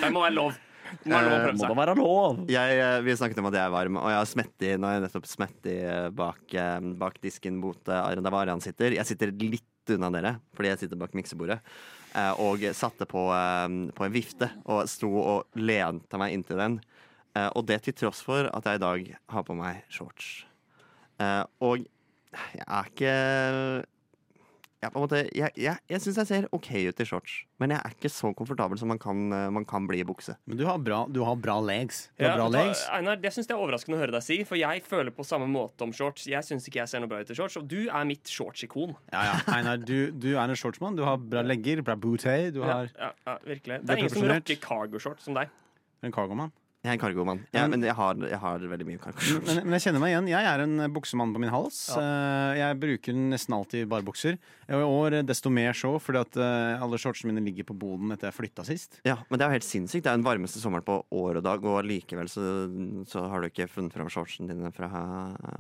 G: Det må være lov. Det må være lov å
B: Eh, Må
G: prøve
B: da
G: seg.
B: være lov.
E: jeg, eh, vi snakket om at jeg er varm, og jeg har smetti, nå har jeg nettopp smetti eh, bak, eh, bak disken mot eh, Arian, der hvor Arian sitter. Jeg sitter litt unna dere, fordi jeg sitter bak miksebordet. eh, Og satte på, eh, på en vifte og sto og lente meg inntil den. Eh, Og det til tross for at jeg i dag har på meg shorts. Eh, Og jeg er ikke jeg, er på en måte, jeg, jeg, jeg syns jeg ser OK ut i shorts, men jeg er ikke så komfortabel som man kan, eh, man kan bli i bukse.
F: Men du har bra, du har bra legs. Du
G: Ja,
F: har bra
G: vet du hva,
F: legs.
G: Einar, det syns jeg er overraskende å høre deg si, for jeg føler på samme måte om shorts. Jeg syns ikke jeg ser noe bra ut i shorts, og du er mitt shortsikon.
F: Ja, ja. Einar, du, du er en shortsmann. Du har bra legger, bra bootay. Du
G: Ja,
F: har
G: ja, ja, virkelig.
F: Du
G: Det
F: er
G: er ingen som
F: profesjonelt.
G: rocker cargo-shorts som deg.
F: en cargoman.
E: Jeg er en kargomann. Ja, men jeg har, jeg har veldig mye kargo.
F: Men, men jeg kjenner meg igjen. Jeg er en buksemann på min hals. Eh, Jeg bruker nesten alltid bare bukser. Og i år eh, desto mer så, fordi at eh, alle shortsene mine ligger på boden etter jeg flytta sist.
E: Ja, men det er jo helt sinnssykt. Det er jo den varmeste sommeren på år og dag, og likevel så, så har du ikke funnet fram shortsen dine fra,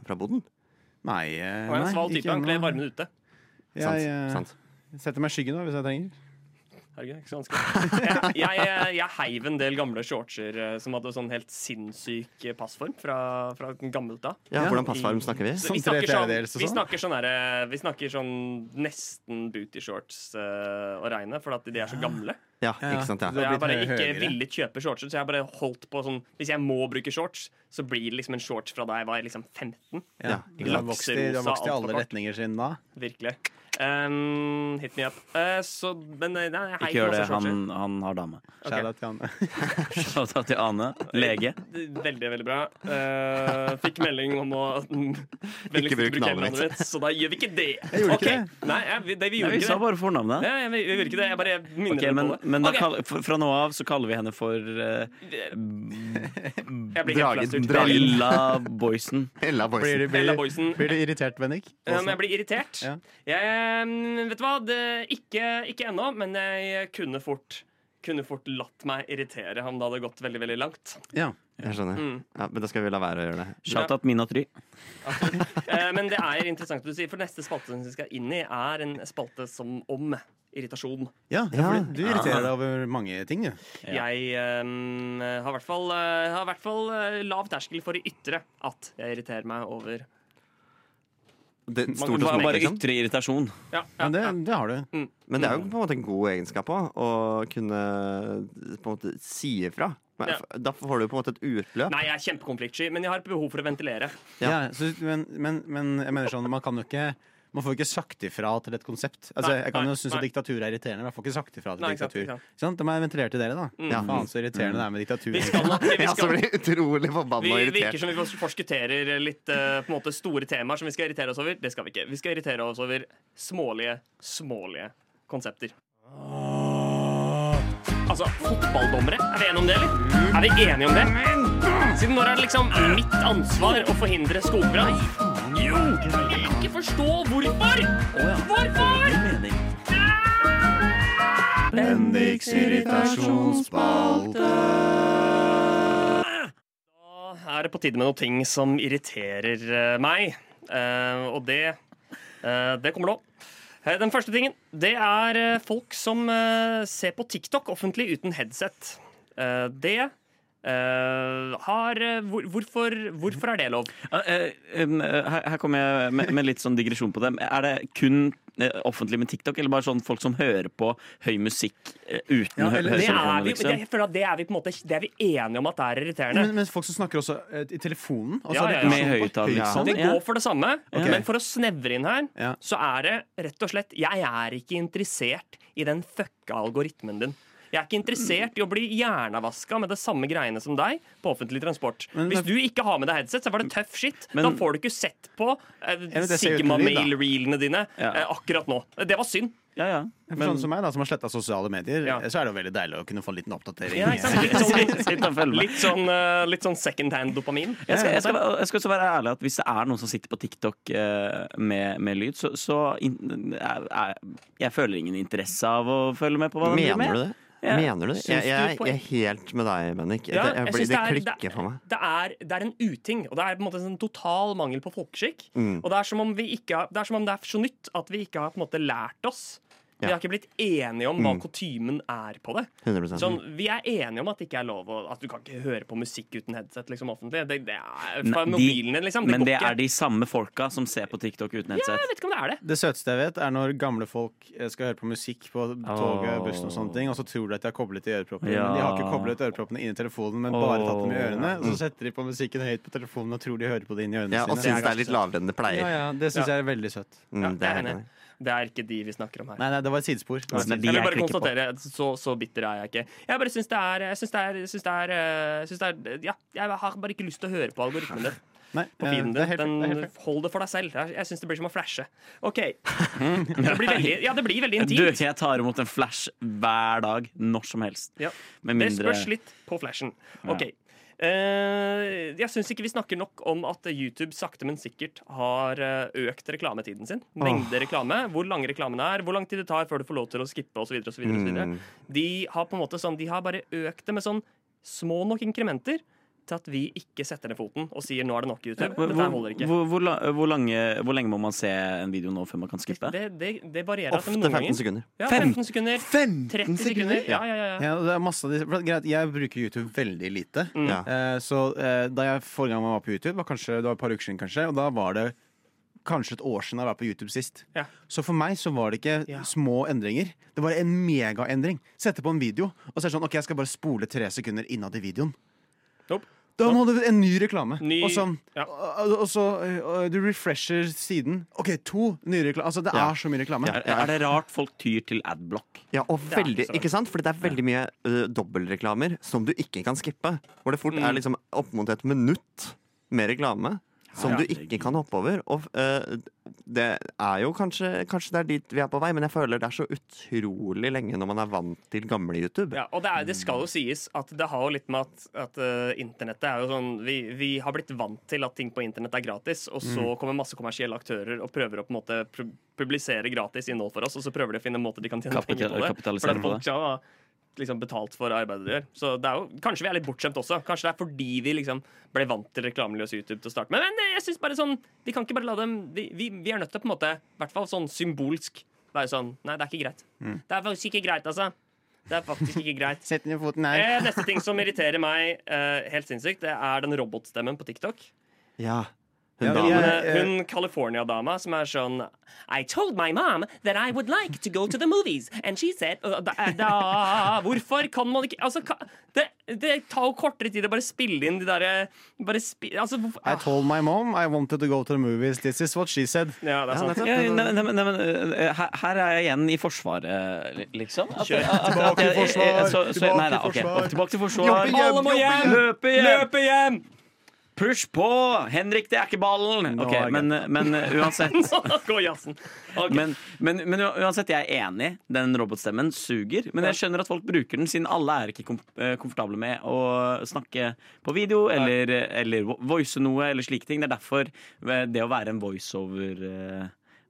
E: fra boden.
F: Nei, eh,
G: Han er en
F: nei,
G: sval type.
F: ikke
G: Han kler
F: ennå.
G: varmen ute.
E: Sant,
F: Jeg eh,
E: sant.
F: setter meg i skyggen da, hvis jeg trenger.
G: Herregud, ikke så vanskelig. Jeg, jeg, jeg heiv en del gamle shortser eh, som hadde sånn helt sinnssyk eh, passform fra, fra gammelt da.
E: Ja,
F: Ja,
E: Hvordan passvarm snakker vi?
G: Så vi
F: Sånn tre
G: snakker sånn,
F: fjerdedels og
G: vi
F: sånn?
G: snakker sånn, derre- vi snakker sånn nesten booty shorts eh, å regne, for at de er så gamle.
E: Ja,
F: ja.
E: ikke sant,
F: Det
E: ja.
G: Og
F: har
G: jeg
F: blitt
G: bare
F: hø-
G: ikke
F: høyere.
G: ville kjøpe shortser, så jeg bare holdt på sånn Hvis jeg må bruke shorts, så blir det liksom en shorts fra da jeg var liksom 15.
E: Ja,
F: du har vokst i, du har
G: Lakserosa,
F: vokst i
G: alt
F: alle
G: for kort.
F: retninger siden da.
G: Virkelig. Um, hit me up. Eh, så, men nei, nei, jeg heiv
B: Ikke gjør det.
G: masse shortser.
B: Han, han har dame.
G: Ok.
F: Shout out til han.
B: Shout out til Ane, lege.
G: Veldig, veldig bra. Eh, fikk melding om å Vennligst
E: bruk navnet
G: hele
E: mitt.
G: mitt, så da gjør vi ikke det.
F: Jeg gjorde ikke
G: Ok. Nei, jeg, vi- det, vi gjorde
B: Nei, vi sa
G: ikke det.
B: bare fornavnet.
G: Ja, jeg, vi gjorde ikke det. Jeg bare minner
B: Ok,
G: dere
B: men
G: på det.
B: men da
G: Ok,
B: kall- f- fra nå av så kaller vi henne for eh,
G: jeg blir
E: Dragen-
G: helt flaut.
E: dragen.
B: Bella Boysen.
E: Ella
F: Blir,
E: Boysen.
F: du-
G: Ella
F: blir, du-
G: Boysen.
F: blir du irritert, Bennik?
G: Eh, Men jeg blir irritert.
F: Ja.
G: Jeg, eh, vet du hva? Det, ikke ikke ennå, men jeg kunne fort kunne fort latt meg irritere om det hadde gått veldig veldig langt.
F: Ja.
E: Jeg skjønner.
G: Mm.
E: Ja, men da skal vi la være å gjøre det.
B: Shout-out Minotry.
G: Eh, Men det er interessant at du sier, for neste spalte som vi skal inn i, er en spalte som om irritasjon.
F: ja, ja, for du irriterer deg over mange ting, du.
B: Ja.
G: Jeg eh, har i hvert fall, eh, har i hvert fall eh, lav terskel for å ytre at jeg irriterer meg over
E: det stort og
B: Bare,
E: smått,
B: bare
E: liksom.
B: ytre irritasjon.
G: Ja, Mm.
F: Ja, det, det har du.
E: Men det er jo på en måte en god egenskap òg, å kunne på en måte si ifra. Men
G: Ja.
E: Da får du på en måte et utløp.
G: Nei, jeg er kjempekonfliktsky, men jeg har et behov for å ventilere.
F: Ja. så, men, men, men jeg mener sånn, man kan jo ikke man får jo ikke sagt ifra til et konsept. Altså,
G: Nei,
F: jeg kan
G: nei,
F: jo synes at
G: nei.
F: diktatur er irriterende, men jeg får ikke sagt ifra til
G: Nei, ikke sant,
F: diktatur.
G: ikke sant. Mm.
F: Sånn, da må jeg ventilere til dere, da.
E: Ja.
F: Faen så irriterende det er med diktatur.
G: Vi skal nok vi
E: Ja, så
G: skal,
E: blir jeg utrolig forbanna
G: vi
E: og
G: virker
E: irritert.
G: som vi forskutterer litt eh, på en måte store temaer som vi skal irritere oss over. Det skal vi ikke. Vi skal irritere oss over smålige, smålige konsepter. Altså, fotballdommere, er vi enige om det, eller? Er vi enige om det? Siden når er det liksom mitt ansvar å forhindre skogbrann? Jo! Jeg kan ikke forstå hvorfor! Hvorfor?
F: Bendiks irritasjonsspalte.
G: Da er det på tide med noen ting som irriterer eh, meg. Eh, og det, eh, det kommer nå. Eh, Den første tingen det er eh, folk som eh, ser på TikTok offentlig uten headset. Eh, det eh, har eh, hvor, hvorfor, hvorfor er det lov?
B: Ja, eh, em, eh, Her, her kommer jeg med, med litt sånn digresjon på det. Er det kun eh, offentlig med TikTok, eller bare sånn folk som hører på høy musikk eh, uten
F: Ja,
B: hø-
F: eller-
G: Det er,
B: høretelefoner?
G: vi, det,
B: Liksom?
G: jeg føler at det er vi på en måte Det er vi enige om at det er irriterende.
F: Men, men folk som snakker også eh, i telefonen. Og så
G: Ja,
F: er det
G: ja, ja.
B: Med
F: irritasjon på
B: høyttaler,
E: Ja.
B: liksom?
G: Det
B: Ja.
G: går for det samme,
F: Ok.
G: men for å snevre inn her,
F: Ja.
G: så er det rett og slett Jeg er ikke interessert i den fucka algoritmen din. Jeg er ikke interessert i å bli hjernavaska med det samme greiene som deg på offentlig transport.
F: Men-
G: Hvis du ikke har med deg headset, så var det tøff shit. da
B: Men-
G: får du ikke sett på eh,
F: men det ser jo uten lyd, da.
G: Sigma-mail-reelene dine
B: Ja.
G: eh, akkurat nå. Det var synd.
B: Ja, ja.
F: For sånne som meg, da, som har sletta sosiale medier,
G: Ja.
F: så er det jo veldig deilig å kunne få en liten oppdatering.
G: Ja, ikke sant? Litt sånn,
B: Sitt og følg
G: litt,
B: med.
G: litt sånn, eh, litt sånn second hand dopamin.
B: Jeg skal, jeg, skal, jeg skal også være ærlig at Hvis det er noen som sitter på TikTok eh, med, med lyd, så, så in, er, er, jeg føler ingen interesse av å følge med på hva de driver
E: Mener
B: med.
E: du det?
B: Ja.
E: Mener du det? Jeg, jeg,
G: du på-
E: jeg er helt med deg, Bennik.
G: Ja,
E: Det- jeg blir-
G: jeg synes
E: det
G: det er-
E: klikker for meg.
G: det er, det er en uting, og det er på en måte en sånn total mangel på folkeskikk.
E: Mm.
G: Og det er, som om vi ikke har, det er som om det er så nytt at vi ikke har på en måte lært oss. Vi
E: Ja. Mm.
G: har ikke blitt enige om hva kutymen er på det.
E: 100
G: Sånn, vi er enige om at det ikke er lov å, at du kan ikke høre på musikk uten headset liksom, offentlig. Det, det er
B: Nei,
G: fra
B: de-
G: mobilen din, liksom. Det
B: Men
G: går
B: det
G: ikke.
B: er de samme folka som ser på TikTok uten
G: Ja, jeg
B: headset.
G: vet ikke om det er det.
F: Det søteste jeg vet, er når gamle folk eh, skal høre på musikk på toget,
B: Åh.
F: bussen og sånne ting, og så tror de at de har koblet i øreproppene.
B: Ja.
F: Men de har ikke koblet øreproppene inn i telefonen, men bare tatt dem i ørene. Og så setter de på musikken høyt på telefonen og tror de hører på det inni ørene
E: Ja, og
F: sine.
E: syns det er litt lavere enn det
F: Ja,
E: pleier.
F: ja, det syns jeg er veldig søtt.
G: Ja,
E: Mm, det
G: jeg
E: er
G: enig.
E: helt enig.
G: det er ikke de vi snakker om her.
F: Nei, nei, det var et sidespor. Det var et
B: Men
F: sidespor.
B: de
G: jeg vil
B: jeg
G: bare
B: klikker på.
G: konstatere, så, så bitter er jeg ikke. Jeg bare syns det er Jeg syns det er, syns det er, eh, syns det er Ja, jeg har bare ikke lyst til å høre på algoritmen din.
F: Nei,
G: på
F: eh,
G: feeden
F: det er helt-
G: din.
F: det er helt
G: Den, hold det for deg selv. Jeg, jeg syns det blir som å flashe. OK. Det blir veldig, ja, det blir veldig
B: Du,
G: intimt.
B: jeg tar imot en flash hver dag, når som helst.
G: Ja.
B: Med
G: Det
B: mindre
G: spørs litt på flashen. OK. Eh, jeg syns ikke vi snakker nok om at YouTube sakte, men sikkert har eh, økt reklametiden sin. Mengde reklame, hvor lang reklamen er, hvor lang tid det tar før du får lov til å skippe osv. videre De har på en måte sånn, de har bare økt det med sånn små nok inkrementer til at vi ikke setter ned foten og sier 'nå er det nok YouTube'.
B: hvor,
G: Dette her holder ikke.
B: hvor, hvor, la- hvor, lange, hvor lenge må man se en video nå før man kan skippe?
G: Det, det, det varierer. at
E: Ofte
G: det noen
E: 15
G: ganger-
E: sekunder.
G: Ja,
B: Fem-
G: 15 sekunder. 30
F: 15
G: sekunder. Ja, ja, ja. ja.
F: Ja, det er masse av de, for greit, jeg bruker YouTube veldig lite.
E: Ja.
F: Eh, så eh, da jeg forrige gang jeg var på YouTube, var kanskje, det var et par uker siden, kanskje, og da var det kanskje et år siden jeg var på YouTube sist.
G: Ja.
F: Så for meg så var det ikke
G: Ja.
F: små endringer. Det var en megaendring. Sette på en video, og så er det sånn OK, jeg skal bare spole tre sekunder innad i videoen.
G: Nope.
F: Da må du en ny reklame.
G: Ny-
F: og, sånn,
G: ja.
F: og, og så eh, Du refresher siden. OK, to nye reklamer. Altså, det
E: Ja.
F: er så mye reklame.
E: Ja.
B: Er, er det rart folk tyr til adblock?
E: Ja, og
G: er ikke
E: veldig,
G: så rart.
E: ikke sant? Fordi det er veldig mye ø, dobbeltreklamer som du ikke kan skippe. Hvor det fort er
G: Mm.
E: liksom opp mot et minutt med reklame som du ikke kan hoppe over. Og ø, det er jo kanskje, kanskje det er dit vi er på vei, men jeg føler det er så utrolig lenge når man er vant til gamle YouTube.
G: Ja, og det, er, det skal jo sies at det har jo litt med at, at eh, internettet er jo sånn vi, vi har blitt vant til at ting på internett er gratis, og så kommer masse kommersielle aktører og prøver å på en måte pu- publisere gratis innhold for oss, og så prøver de å finne måter de kan tjene
B: Kapital-
G: penger på det.
B: kapitalisere
G: Fordi
B: på
G: folk skal liksom, betalt for arbeidet de gjør. Så det er jo, kanskje vi er litt bortskjemt også. Kanskje det er fordi vi liksom ble vant til reklameløs YouTube til å starte med. Men eh, jeg synes bare sånn, vi kan ikke bare la dem Vi, vi, vi er nødt til å på en måte, i hvert fall sånn symbolsk, være sånn Nei, det er ikke greit. Det er faktisk ikke greit, altså. Det er faktisk ikke greit.
F: Sett ned foten her.
G: Eh, neste ting som irriterer meg eh, helt sinnssykt, det er den robotstemmen på TikTok.
E: Ja.
F: Ja,
E: Hun
F: vi
E: damen.
F: er-
G: Eh, Hun California-dama som er sånn I told my mom that I would like to go to the movies And she said uh, da, da, Hvorfor kan man ikke altså, ka, det, det tar jo kortere tid å bare spille inn de der eh, bare spi, altså, hvorfor-
F: I told my mom I wanted to go to the movies. This is what she said.
G: Ja, det er sant
E: nettopp.
B: Ja, nei, nei, men- nei, men, eh, her, her er jeg igjen i forsvaret, li- liksom. At-
G: Kjør.
B: at- at-
F: Tilbake i
B: at jeg- eh, eh, så-
F: forsvar,
B: så- nei, nei,
F: tilbake i
B: ok.
F: forsvar.
B: Tilbake til
E: Jobbe hjem,
B: forsvar.
G: Alle må
E: jobbe
G: hjem!
E: hjem.
B: Løpe hjem!
G: Løpe hjem!
B: Push på! Henrik, det er ikke ballen!
F: Nå
B: Ok,
F: er det
B: men, men eh, uansett
G: Nå går jazzen. Ok.
B: men, men, men uansett, jeg er enig. Den robotstemmen suger. Men jeg skjønner at folk bruker den, siden alle er ikke kom eh, komfortable med å snakke på video eller, eller vo- voice noe eller slike ting. Det er derfor eh, det å være en voiceover eh,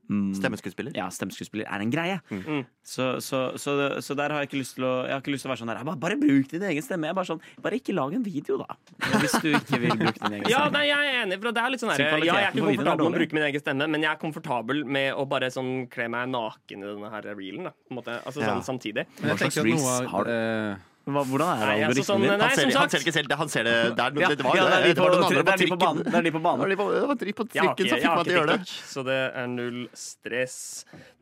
B: mm,
E: Stemmeskuespiller.
B: ja, stemmeskuespiller er en greie.
G: Mm.
B: Så, så, så, så der har jeg ikke lyst til å Jeg har ikke lyst til å være sånn der Bare, bare bruk din egen stemme. Jeg er bare sånn Bare ikke lag en video, da. Hvis du ikke vil bruke din egen
G: Ja,
B: stemme.
G: nei, jeg er enig. For det er litt sånn her,
B: Så kvaliteten
G: ja, jeg er ikke
B: på videoen er
G: komfortabel med å
B: dårlig.
G: bruke min egen stemme, men jeg er komfortabel med å bare sånn kle meg naken i denne her reelen. Da, på en måte. Altså
E: Ja.
G: sånn samtidig.
F: Men
B: Hva
F: jeg
B: slags
F: tenker at noe
B: reels
F: av-
B: har du?
F: eh,
B: Hva, hvordan er
G: Nei, altså, sånn,
B: algoritmen din?
G: nei,
E: Han ser,
G: som
E: han
G: sagt-
E: ser ikke selv det. Han ser det der. Det,
B: Ja,
E: det var
B: ja,
E: jo
B: det er
E: det.
B: de
E: Det var
B: på-
E: noen andre
B: det
E: på
B: er de på
E: trikken.
B: banen. Det er de på banen.
E: Det var de på- det var de på
G: Jeg har
E: trikken
G: ikke-
E: som
G: jeg
E: fikk
G: har
E: meg til å
G: ikke
E: gjøre det.
G: TikTok, Så det er null stress.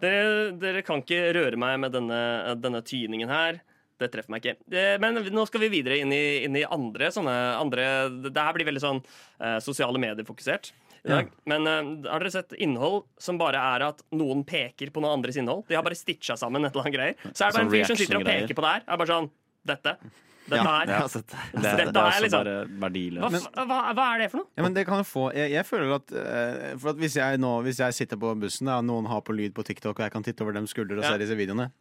G: Dere, dere kan ikke røre meg med denne, denne tyningen her. Det treffer meg ikke. Eh, Men nå skal vi videre inn i, inn i andre sånne andre, Det her blir veldig sånn eh, sosiale medier-fokusert. i dag. Men eh, har dere sett innhold som bare er at noen peker på noen andres innhold? De har bare stitcha sammen et eller annet greier. Så er det bare
B: Sånn
G: en fyr som sitter og
B: reaction-greier.
G: peker på det her. Er bare sånn Dette. Dette
E: Ja,
G: her.
E: jeg har sett det.
B: Det,
G: Dette
B: det
G: er
B: er også
G: liksom-
B: bare verdiløst.
G: Hva, hva, hva er det for noe?
F: Ja, men det kan jo få Jeg, jeg føler at, eh, for at hvis, jeg nå, hvis jeg sitter på bussen da, og noen har på lyd på TikTok, og jeg kan titte over dem skuldre og
G: Ja.
F: se disse videoene,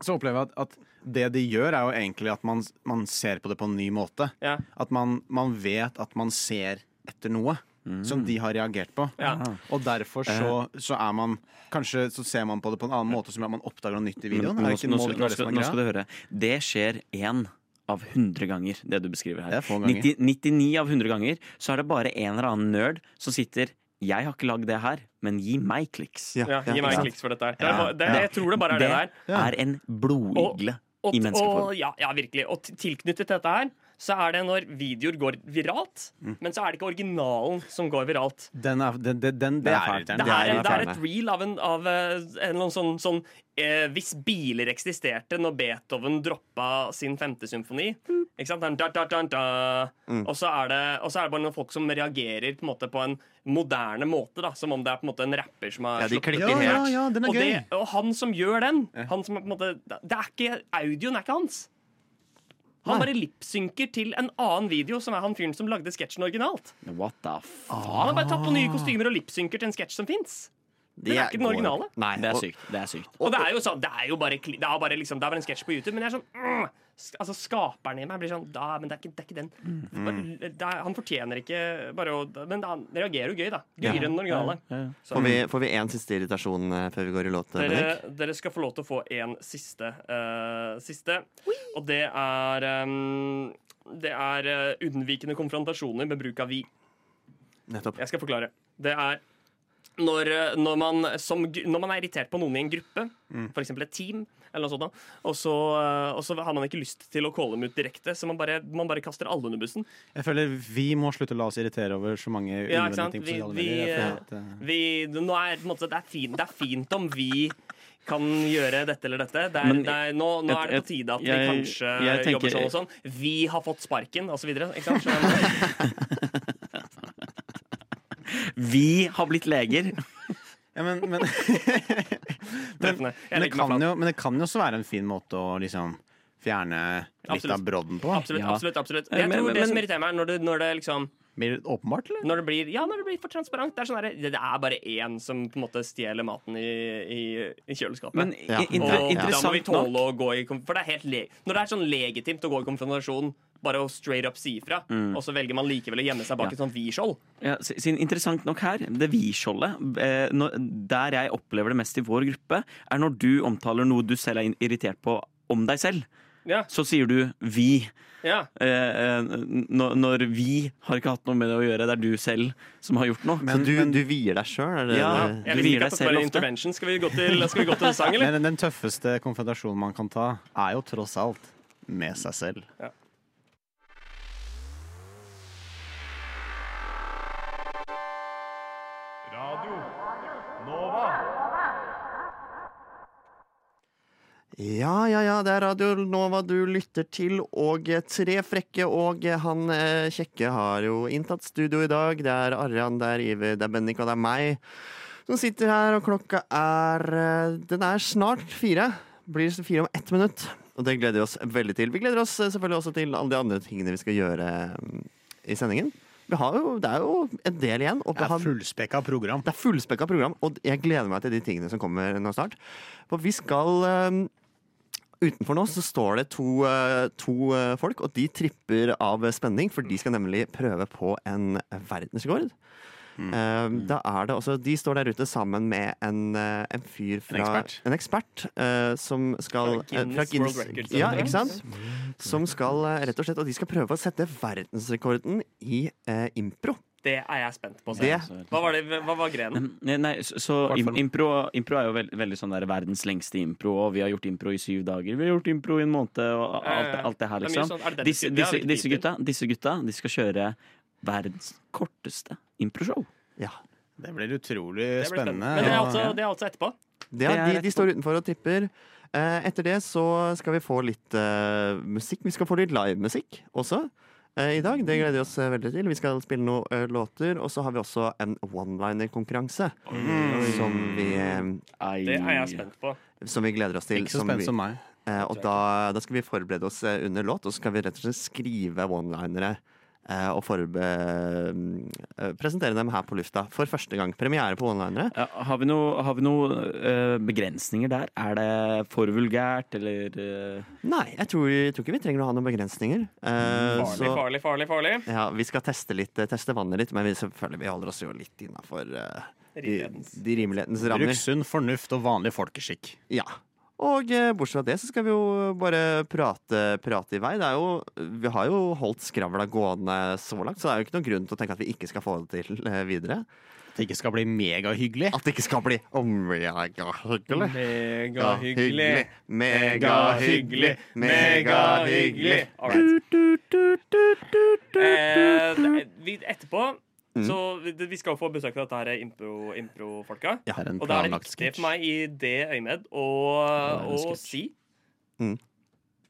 F: så opplever jeg at, at det de gjør, er jo egentlig at man, man ser på det på en ny måte.
G: Ja.
F: At man, man vet at man ser etter noe. Som de har reagert på.
G: Ja.
F: Og derfor så, så er man Kanskje så ser man på det på en annen måte, som at man oppdager noe nytt i
B: Men
F: videoen.
B: Mm, Nå,
F: Er det ikke-
B: skal- nå,
F: må
B: skal-
F: det ikke
B: nå,
F: være det
B: skal-
F: som er
B: nå
F: greia?
B: skal du høre. Det skjer én av 100 ganger, det du beskriver her.
F: Det er få ganger.
B: 90, 99 av 100 ganger så er det bare en eller annen nerd som sitter Jeg har ikke lagd det her, men gi meg kliks.
G: Ja, gi meg
E: ikke
G: en
E: sant.
G: kliks for dette her. Det, er bare- det, det, jeg tror det bare er det der.
B: er en blodigle
G: Og,
B: i menneskeform.
G: og, ja, ja, virkelig. Og til- tilknyttet til dette her, så er det når videoer går viralt,
E: Mm.
G: men så er det ikke originalen som går viralt.
F: Den er, den, den, den, det
E: er
F: er
E: fælt.
F: fælt.
G: Det
E: Det
G: er,
E: er
G: det er
E: irriterende.
G: et reel av en, av eh, en eller annen sånn, sånn eh, Hvis biler eksisterte når Beethoven droppa sin femte symfoni ikke sant? Den Da, da, da, da.
E: Mm.
G: Og, så er det, og så er det bare noen folk som reagerer på en, måte, på en moderne måte, da, som om det er på en måte en rapper som har
E: Ja, de
G: sluppet
E: klikker
F: Ja,
E: helt.
F: ja, ja, den er
G: og,
F: gøy.
G: det, og han som gjør den han som er på en måte, det er ikke, Audioen er ikke hans. Han bare lipsynker til en annen video, som er han fyren som lagde sketsjen originalt.
B: What the fuck?
G: Han har bare
F: Ah.
G: tatt på nye kostymer og lipsynker til en sketsj som fins.
E: Det
G: er ikke den
E: går-
G: originale.
E: Nei,
B: Det er
E: og-
B: sykt. Det er sykt.
G: Og det er jo sånn, det er jo bare, kli- det er bare, liksom, det er bare en sketsj på YouTube, men jeg er sånn mm, sk- Altså Skaperen i meg blir sånn da, Men det er ikke, det er ikke den.
F: Mm.
G: Bare, det er, han fortjener ikke bare å Men han reagerer jo gøy, da. Gøyere enn den originale.
E: Får vi, får vi en siste irritasjon eh, før vi går i låt,
G: Dere,
E: Bendik?
G: dere skal få lov til å få en siste. eh, siste. Og det er ehm, Det er eh, unnvikende konfrontasjoner med bruk av vi.
E: Nettopp.
G: Jeg skal forklare. Det er når, eh, når, man, som, gru- når man er irritert på noen i en gruppe, for f.eks. et team, eller noe sånt, da, og, så, eh, og så har man ikke lyst til å calle dem ut direkte, så man bare, man bare kaster alle under bussen.
F: Jeg føler vi må slutte å la oss irritere over så mange
G: Ja,
F: unødvendige
G: ikke sant?
F: ting på
G: Vi-
F: sosiale
G: vi,
F: medier. Jeg føler
G: eh,
F: at, eh,
G: Vi, nå er, på en måte, det, er fint, det er fint om vi kan gjøre dette eller dette. Det er,
B: Men-
G: det er, nå, nå er det
B: jeg-
G: på tide at vi
B: jeg-
G: kanskje
B: jeg tenker-
G: jobber sånn og sånn. Vi har fått sparken, osv. Nei,
B: Vi har blitt leger.
F: Ja, men, men, men, men, det kan jo, men det kan jo også være en fin måte å liksom fjerne litt
G: Absolutt.
F: av brodden på.
G: Absolutt.
B: Ja.
G: absolutt, absolutt.
B: Eh,
G: Jeg
B: men-
G: tror det
B: men-
G: som irriterer meg, er når det, når det liksom
F: Blir det åpenbart, eller?
G: når det blir, ja, når det blir for transparent. Det er, sånn der, det er bare én som på en måte stjeler maten i, i, i kjøleskapet.
B: Men
E: Ja.
B: i- inter,
G: og da må vi
B: interessant
G: tåle
B: nok
G: å gå i konf- For det er helt le Når det er sånn legitimt å gå i konfrontasjon, bare å straight up si ifra, og så velger man likevel å gjemme seg
B: Mm.
G: bak
B: Ja.
G: et sånt vi-skjold.
B: ja, s- siden Interessant nok her, det vi-skjoldet, eh, når- der jeg opplever det mest i vår gruppe, er når du omtaler noe du selv er in- irritert på om deg selv.
G: Ja.
B: så sier du 'vi'.
G: Ja.
B: Eh, eh, når, når vi har ikke hatt noe med det å gjøre, det er du selv som har gjort noe.
E: Så du, du vier deg sjøl, er det
B: Ja.
E: det-
G: Jeg
B: Du hviler
G: liker ikke
B: deg
G: at det
B: selv
G: bare
B: ofte.
G: er intervention. Skal vi gå til, skal vi gå til sang, eller?
F: Men den tøffeste konfrontasjonen man kan ta, er jo tross alt med seg selv.
C: Radio Nova.
E: Ja, ja, ja, det er Radio Nova du lytter til, og eh, tre frekke og eh, han eh, kjekke har jo inntatt studio i dag. Det er Arjan, det er Iver, det er Bennik og det er meg som sitter her, og klokka er eh, Den er snart fire. Blir fire om ett minutt, og det gleder vi oss veldig til. Vi gleder oss eh, selvfølgelig også til alle de andre tingene vi skal gjøre mm, i sendingen. Vi har jo, det er jo en del igjen. Og
F: Det
E: vi
F: er
E: har
F: fullspekka program.
E: det er fullspekka program, og jeg gleder meg til de tingene som kommer nå snart. For vi skal eh, Utenfor nå så står det to, eh, to eh, folk, og de tripper av spenning, for de skal nemlig prøve på en verdensrekord. Eh, Da er det også, De står der ute sammen med en, eh, en fyr fra
F: ekspert.
E: en ekspert, eh, som skal
G: Fra
E: eh,
G: Guinness World Records, Mm.
E: Ja,
G: eller?
E: ikke sant? Som skal eh, rett og slett Og de skal prøve å sette verdensrekorden i eh, impro.
G: Det er jeg spent på. å se.
E: Det
G: Hva var, det, hva var grenen?
B: Nei, nei, så, så im, impro, impro er jo veld, veldig sånn der verdens lengste impro, og vi har gjort impro i syv dager. Vi har gjort impro i en måned, og
G: Ja, ja,
B: alt,
G: ja.
B: alt det her,
G: Det er mye
B: liksom.
G: sånn, er det den
B: Disse,
G: typen? Ja,
B: disse,
G: hvilken
B: disse,
G: titel?
B: gutta, disse gutta de skal kjøre verdens korteste improshow.
E: Ja.
F: Det blir utrolig
G: Det blir
F: spennende.
G: Men det er
F: og-
G: altså, det er altså etterpå.
E: Det
B: Det er
E: er, de,
B: rett
E: de
B: på.
E: står utenfor og tripper. Eh, etter det så skal vi få litt eh, musikk. Vi skal få litt livemusikk også eh, i dag. Det gleder vi oss eh, veldig til. Vi skal spille noen eh, låter. Og så har vi også en one-liner-konkurranse
F: Mm.
E: som, vi, eh,
B: Ei.
G: Det er jeg spent på.
E: som vi gleder oss til.
F: Ikke så
E: vi-
F: spent som meg.
E: eh, og da, da skal vi forberede oss eh, under låt, og så skal vi rett og slett skrive one-linere. eh, Og forbe eh, presentere dem her på lufta for første gang. Premiere på one-linere.
B: Ja, Har vi noen noe, eh, begrensninger der? Er det for vulgært, eller eh,
E: Nei, jeg tror, jeg tror ikke vi trenger å ha noen begrensninger. Eh,
G: Farlig, farlig, farlig. farlig.
E: Ja, vi skal teste, litt, eh, teste vannet litt, men vi, selvfølgelig, vi holder oss jo litt innafor de,
G: Rimelighetens.
E: de rimelighetens
F: Bruk
E: rammer.
F: sunn fornuft og vanlig folkeskikk.
E: Ja. Og eh, bortsett fra det så skal vi jo bare prate, prate i vei. Det er jo, vi har jo holdt skravla gående så langt, så det er jo ikke noen grunn til å tenke at vi ikke skal få det til eh, videre.
F: At det ikke skal bli megahyggelig.
E: At det ikke skal bli megahyggelig.
G: Megahyggelig.
E: Megahyggelig. Megahyggelig.
G: All right. Eh, det- vi, etterpå
E: Mm.
G: så vi, vi skal jo få besøk av dette her impro- impro-folka.
F: Det er en
G: og da er det
F: planlagt
G: viktig
F: sketsj.
G: for meg i det øyemed å,
B: Det er en
G: å
B: sketsj.
G: si
E: Mm.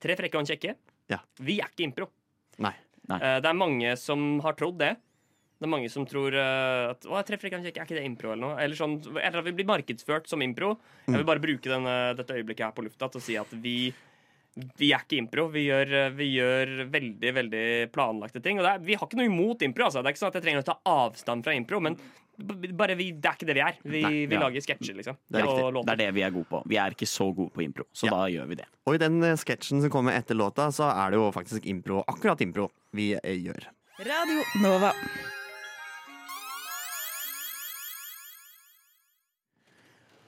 G: Tre frekke og en kjekke.
E: Ja.
G: Vi er ikke impro.
E: Nei.
B: Nei.
G: Eh, Det er mange som har trodd det. Det er mange som tror eh, at å, tre frekke og en kjekke, er ikke det impro eller noe? Eller, sånn, eller at vi blir markedsført som impro.
B: Mm.
G: Jeg vil bare bruke denne, dette øyeblikket her på lufta til å si at vi vi er ikke impro. Vi gjør, eh, vi gjør veldig veldig planlagte ting. Og det er, vi har ikke noe imot impro. Altså. Det er ikke sånn at jeg trenger å ta avstand fra impro, men b- bare vi, det er ikke det vi er. Vi,
B: Nei,
G: vi
B: ja.
G: lager sketsjer, liksom.
E: Det er
G: og
E: riktig.
B: Det
G: låter.
B: er det vi er gode på. Vi er ikke så gode på impro, så
E: Ja.
B: da gjør vi det.
E: Og i den eh, sketsjen som kommer etter låta, så er det jo faktisk impro, akkurat impro, vi eh, gjør.
I: Radio Nova.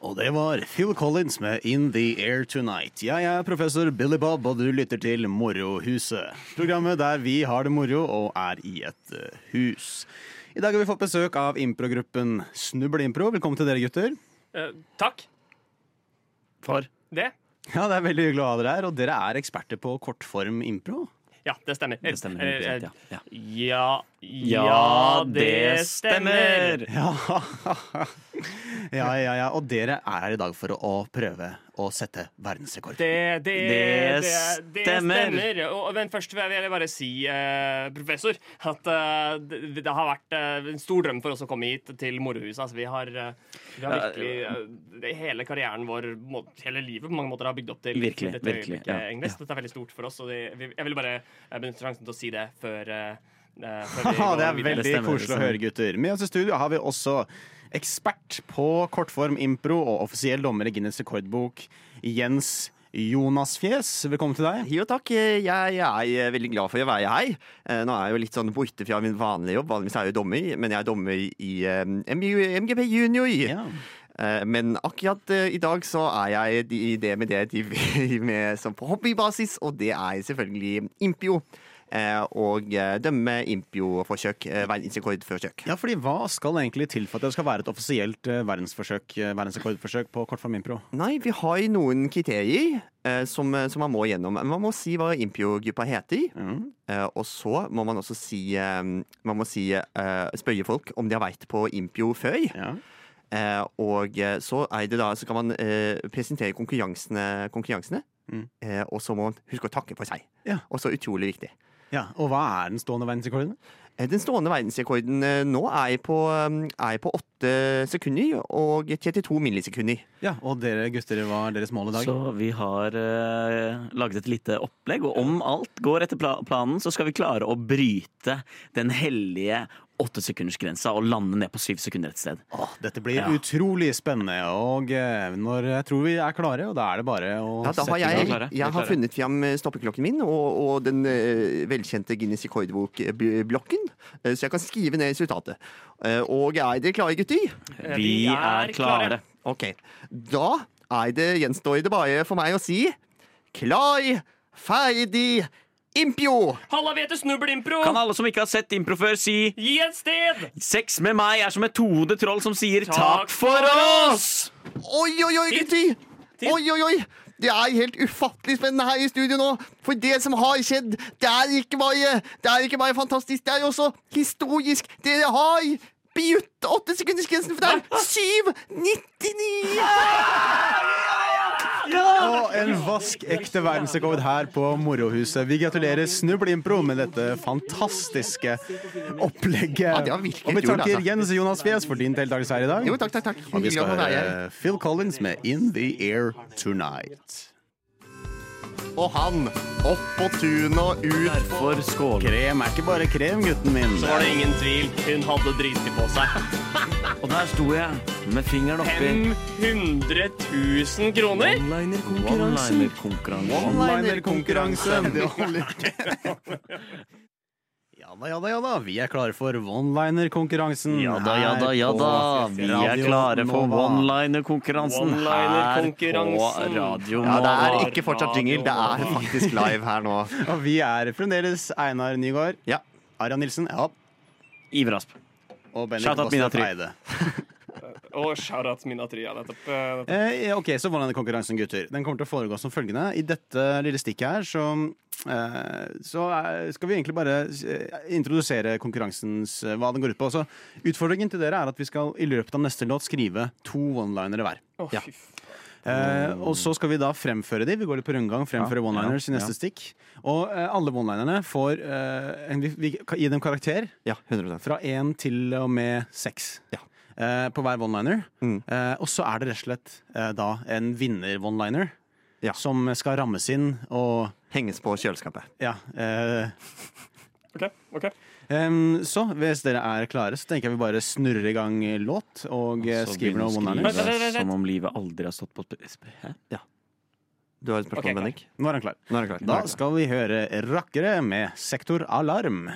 F: Og det var Phil Collins med In The Air Tonight. Jeg er professor Billy Bob, og du lytter til Morohuset. Programmet der vi har det moro og er i et eh, hus. I dag har vi fått besøk av improgruppen Snubbel Impro. Velkommen til dere, gutter.
G: Eh, takk.
F: For?
G: Det?
F: Ja, det er veldig hyggelig å ha dere her, og dere er eksperter på kortform impro.
G: Ja, det stemmer.
B: Det stemmer. helt
G: Eh, eh,
B: rett, ja. Ja.
G: Ja, ja, det stemmer.
F: Ja. ja, ja, ja. Og dere er her i dag for å prøve å sette verdensrekord.
G: Det, det,
B: Det
G: det
B: stemmer.
G: stemmer. Og, men først vil jeg bare si, eh, professor, at eh, det, det har vært eh, en stor drøm for oss å komme hit til Morohuset. Altså, vi, har, eh, vi har virkelig eh, det- Hele karrieren vår, må- hele livet på mange måter, har bygd opp til
B: Virkelig,
G: til dette
B: virkelig,
G: øyeblikket,
B: ja,
G: Agnes. Dette er veldig stort for oss, og det, vi, jeg ville bare eh, benytte sjansen til å si det før, eh, eh, før
F: Ja, det
G: vi går
F: er
G: videre.
F: veldig
B: Det stemmer,
F: koselig
B: det
F: å høre, gutter. Med oss i studio har vi også ekspert på kortform impro og offisiell dommer i Guinness rekordbok, Jens Jonasfjes. Velkommen til deg.
E: Jo takk, jeg, jeg er veldig glad for å være her. Eh, Nå er jeg jo litt sånn borte fra min vanlige jobb, vanligvis er jeg jo dommer, men jeg er dommer i eh, MG MGP Junior.
F: Ja.
E: Eh, Men akkurat eh, i dag så er jeg i det med det de driver med som på hobbybasis, og det er selvfølgelig Impio. eh, Og eh, dømme Impio-forsøk. eh, Verdensrekordforsøk.
F: Ja, fordi hva skal egentlig til for at det skal være et offisielt eh, verdensforsøk, eh, verdensrekordforsøk på kortform impro?
E: Nei, vi har noen kriterier eh, som, som man må gjennom. Man må si hva Impio-gruppa heter.
F: Mhm.
E: Eh, og så må man også si, eh, man må si eh, spørre folk om de har vært på Impio før.
F: Ja.
E: Eh, og eh, så, er det da, så kan man eh, presentere konkurransene, konkurransene
F: Mm.
E: eh, og så må man huske å takke for seg.
F: Ja.
E: Også utrolig viktig.
F: ja, Og hva er den stående verdensrekorden?
E: Eh, Den stående verdensrekorden eh, nå er på, um, er på 8 sekunder og 32 millisekunder.
F: Ja, Og dere gutter, hva er deres mål i dag?
B: Så vi har eh, laget et lite opplegg, og om alt går etter pla planen, så skal vi klare å bryte den hellige åttesekundersgrensa og lande ned på syv sekunder et sted.
F: Åh, dette blir
B: Ja.
F: utrolig spennende, og eh, når jeg tror vi er klare, og da er det bare å
E: Ja, da har
F: i
E: jeg,
F: gang.
B: klare, vi er
E: jeg har
B: klare.
E: funnet fram eh, stoppeklokken min og, og den eh, velkjente Guinness rekordbok-blokken, eh, så jeg kan skrive ned resultatet. Eh, og er dere klare, gutter?
G: Eh,
B: Vi er klare.
E: Ok, da er det gjenstår det bare for meg å si Klar, ferdig, impjo!
G: Halla, vi heter Snubbelimpro!
B: Kan alle som ikke har sett impro før, si
G: Gi et sted!
B: Sex med meg er som et tohodet troll som sier
G: Takk
B: takk for oss!
E: Oi, oi, oi, gutter! Oi, oi, oi! Det er helt ufattelig spennende her i studio nå, for det som har skjedd, det er ikke bare, det er ikke bare fantastisk, det er også historisk. Dere har bjutt åttesekundersgrensen, for det er 7,99!
F: Og en vask ekte verdensrekord her på Morohuset. Vi gratulerer Snubbel Impro med dette fantastiske opplegget.
E: det var virkelig
F: og vi
E: kult,
F: takker
E: altså.
F: Jens Jonas Fjes for din deltakelse her i dag.
E: Jo, takk, takk, takk.
F: Og vi
E: Hyggelig å
F: skal
E: få være
F: høre
E: her.
F: Phil Collins med In The Air Tonight.
E: Og han, opp på tunet og ut.
B: For skål.
F: Krem er ikke bare krem, gutten min.
G: Så var det ingen tvil. Hun hadde driti på seg.
B: Og der sto jeg med fingeren oppi
G: 500 000 kroner?
B: one-liner-konkurransen.
F: One-liner-konkurranse.
E: Det holder
F: Ja da, ja da, ja da. Vi er klare for one-liner-konkurransen.
B: Ja da, ja da, ja da. Vi er
F: Radio
B: klare for
F: Nova.
B: one-liner-konkurransen her på
G: One-liner-konkurransen.
B: Radio
E: Ja, det
B: Nova.
E: er ikke fortsatt jingle, det er faktisk live her nå.
F: Og vi er fremdeles Einar Nygaard,
E: Ja.
F: Arian Nilsen ja.
B: Iver Asp.
F: og Bendik
B: Shout out Mina
F: Bastian
B: Try.
F: Eide.
G: Og shout-out til Mina Tria nettopp. eh, nettopp.
F: Eh, ja, ok, så One-liner-konkurransen, gutter. Den kommer til å foregå som følgende. I dette lille stikket her så, eh, så eh, skal vi egentlig bare eh, introdusere konkurransens eh, hva den går ut på. Så utfordringen til dere er at vi skal i løpet av neste låt skrive to one-linere hver.
G: Å,
E: Ja.
G: fy f-
F: Eh, og så skal vi da fremføre de. Vi går litt på rundgang. Fremføre
B: Ja,
F: one-liners i
B: ja,
F: neste stikk. Og eh, alle one-linerne får eh, en, Vi, vi kan gi dem karakter
E: Ja, 100
F: fra én til og med seks.
E: Ja.
F: Eh, på hver one-liner.
E: Mm.
F: Eh, og så er det rett og slett eh, da en vinner-one-liner
E: Ja.
F: som skal rammes inn og
E: Henges på kjøleskapet.
F: Ja. Eh,
G: OK. ok.
F: em, så hvis dere er klare, så tenker jeg vi bare snurrer i gang låt og eh,
B: Så
F: skriver
B: begynner å
F: noen one-liners.
G: Vent, vent,
B: skrive
G: vent, vent.
B: Som om livet aldri har stått på sp- sp- Hæ?
E: Du har et spørsmål,
G: Ok, klar.
E: Bendik?
F: Nå er han klar.
E: Nå er du klar.
F: Da skal vi høre Rakkere med Sektor Alarm.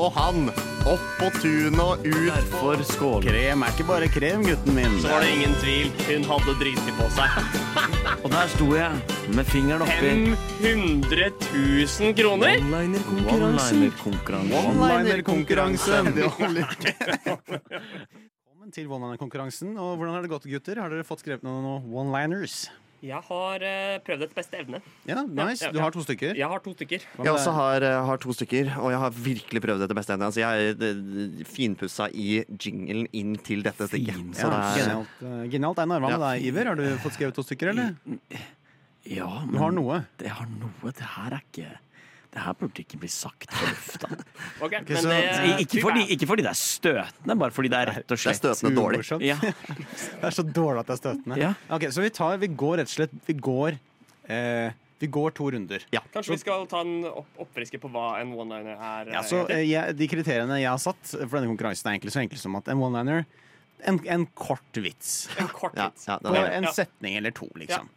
E: Og han, opp på tunet og ut.
B: For skål.
F: Krem er ikke bare krem, gutten min.
G: Så var det ingen tvil. Hun hadde driti på seg.
B: Og der sto jeg med fingeren oppi
G: 500 000 kroner?
B: one-liner-konkurransen.
F: One-liner-konkurranse. Velkommen til one-liner-konkurransen. Og hvordan har det gått, gutter? Har dere fått skrevet noen noen one-liners?
G: Jeg har eh, prøvd etter beste evne.
F: Ja, nice.
G: ja,
F: Du
G: ja.
F: har to stykker.
G: Jeg har to stykker.
F: Hva med
E: Jeg også
F: deg?
E: har, eh, har to stykker, og jeg har virkelig prøvd etter beste evne. Altså, jeg eh, finpussa i jinglen inn til dette stikket. Så
F: ja,
E: det er,
F: genialt, eh, genialt. Einar, hva med
E: Ja.
F: deg, Iver? Har du fått skrevet to stykker, eller?
B: Ja,
F: Du har
B: men
F: noe.
B: det har noe. Det her er ikke Det her burde ikke bli sagt på lufta.
G: Ok, men eh,
F: så-
G: det,
B: I- Ikke fordi, ikke fordi det er støtende, bare fordi det er rett og
E: det er
B: slett
E: støtende dårlig.
F: Umorsomt.
B: Ja.
F: Det er så dårlig at det er støtende.
B: Ja.
F: Ok, Så vi, tar, vi går rett og slett Vi går, eh, vi går to runder.
G: Kanskje vi skal ta en opp, oppfriske på hva en one-liner er?
F: Ja, så, eh, jeg, de kriteriene jeg har satt for denne konkurransen, er egentlig så enkle som at en one-liner en, en kort vits.
G: En kort
E: Ja,
G: hit.
E: ja, det
F: På
E: var det.
F: en
G: Ja.
F: setning eller to, liksom.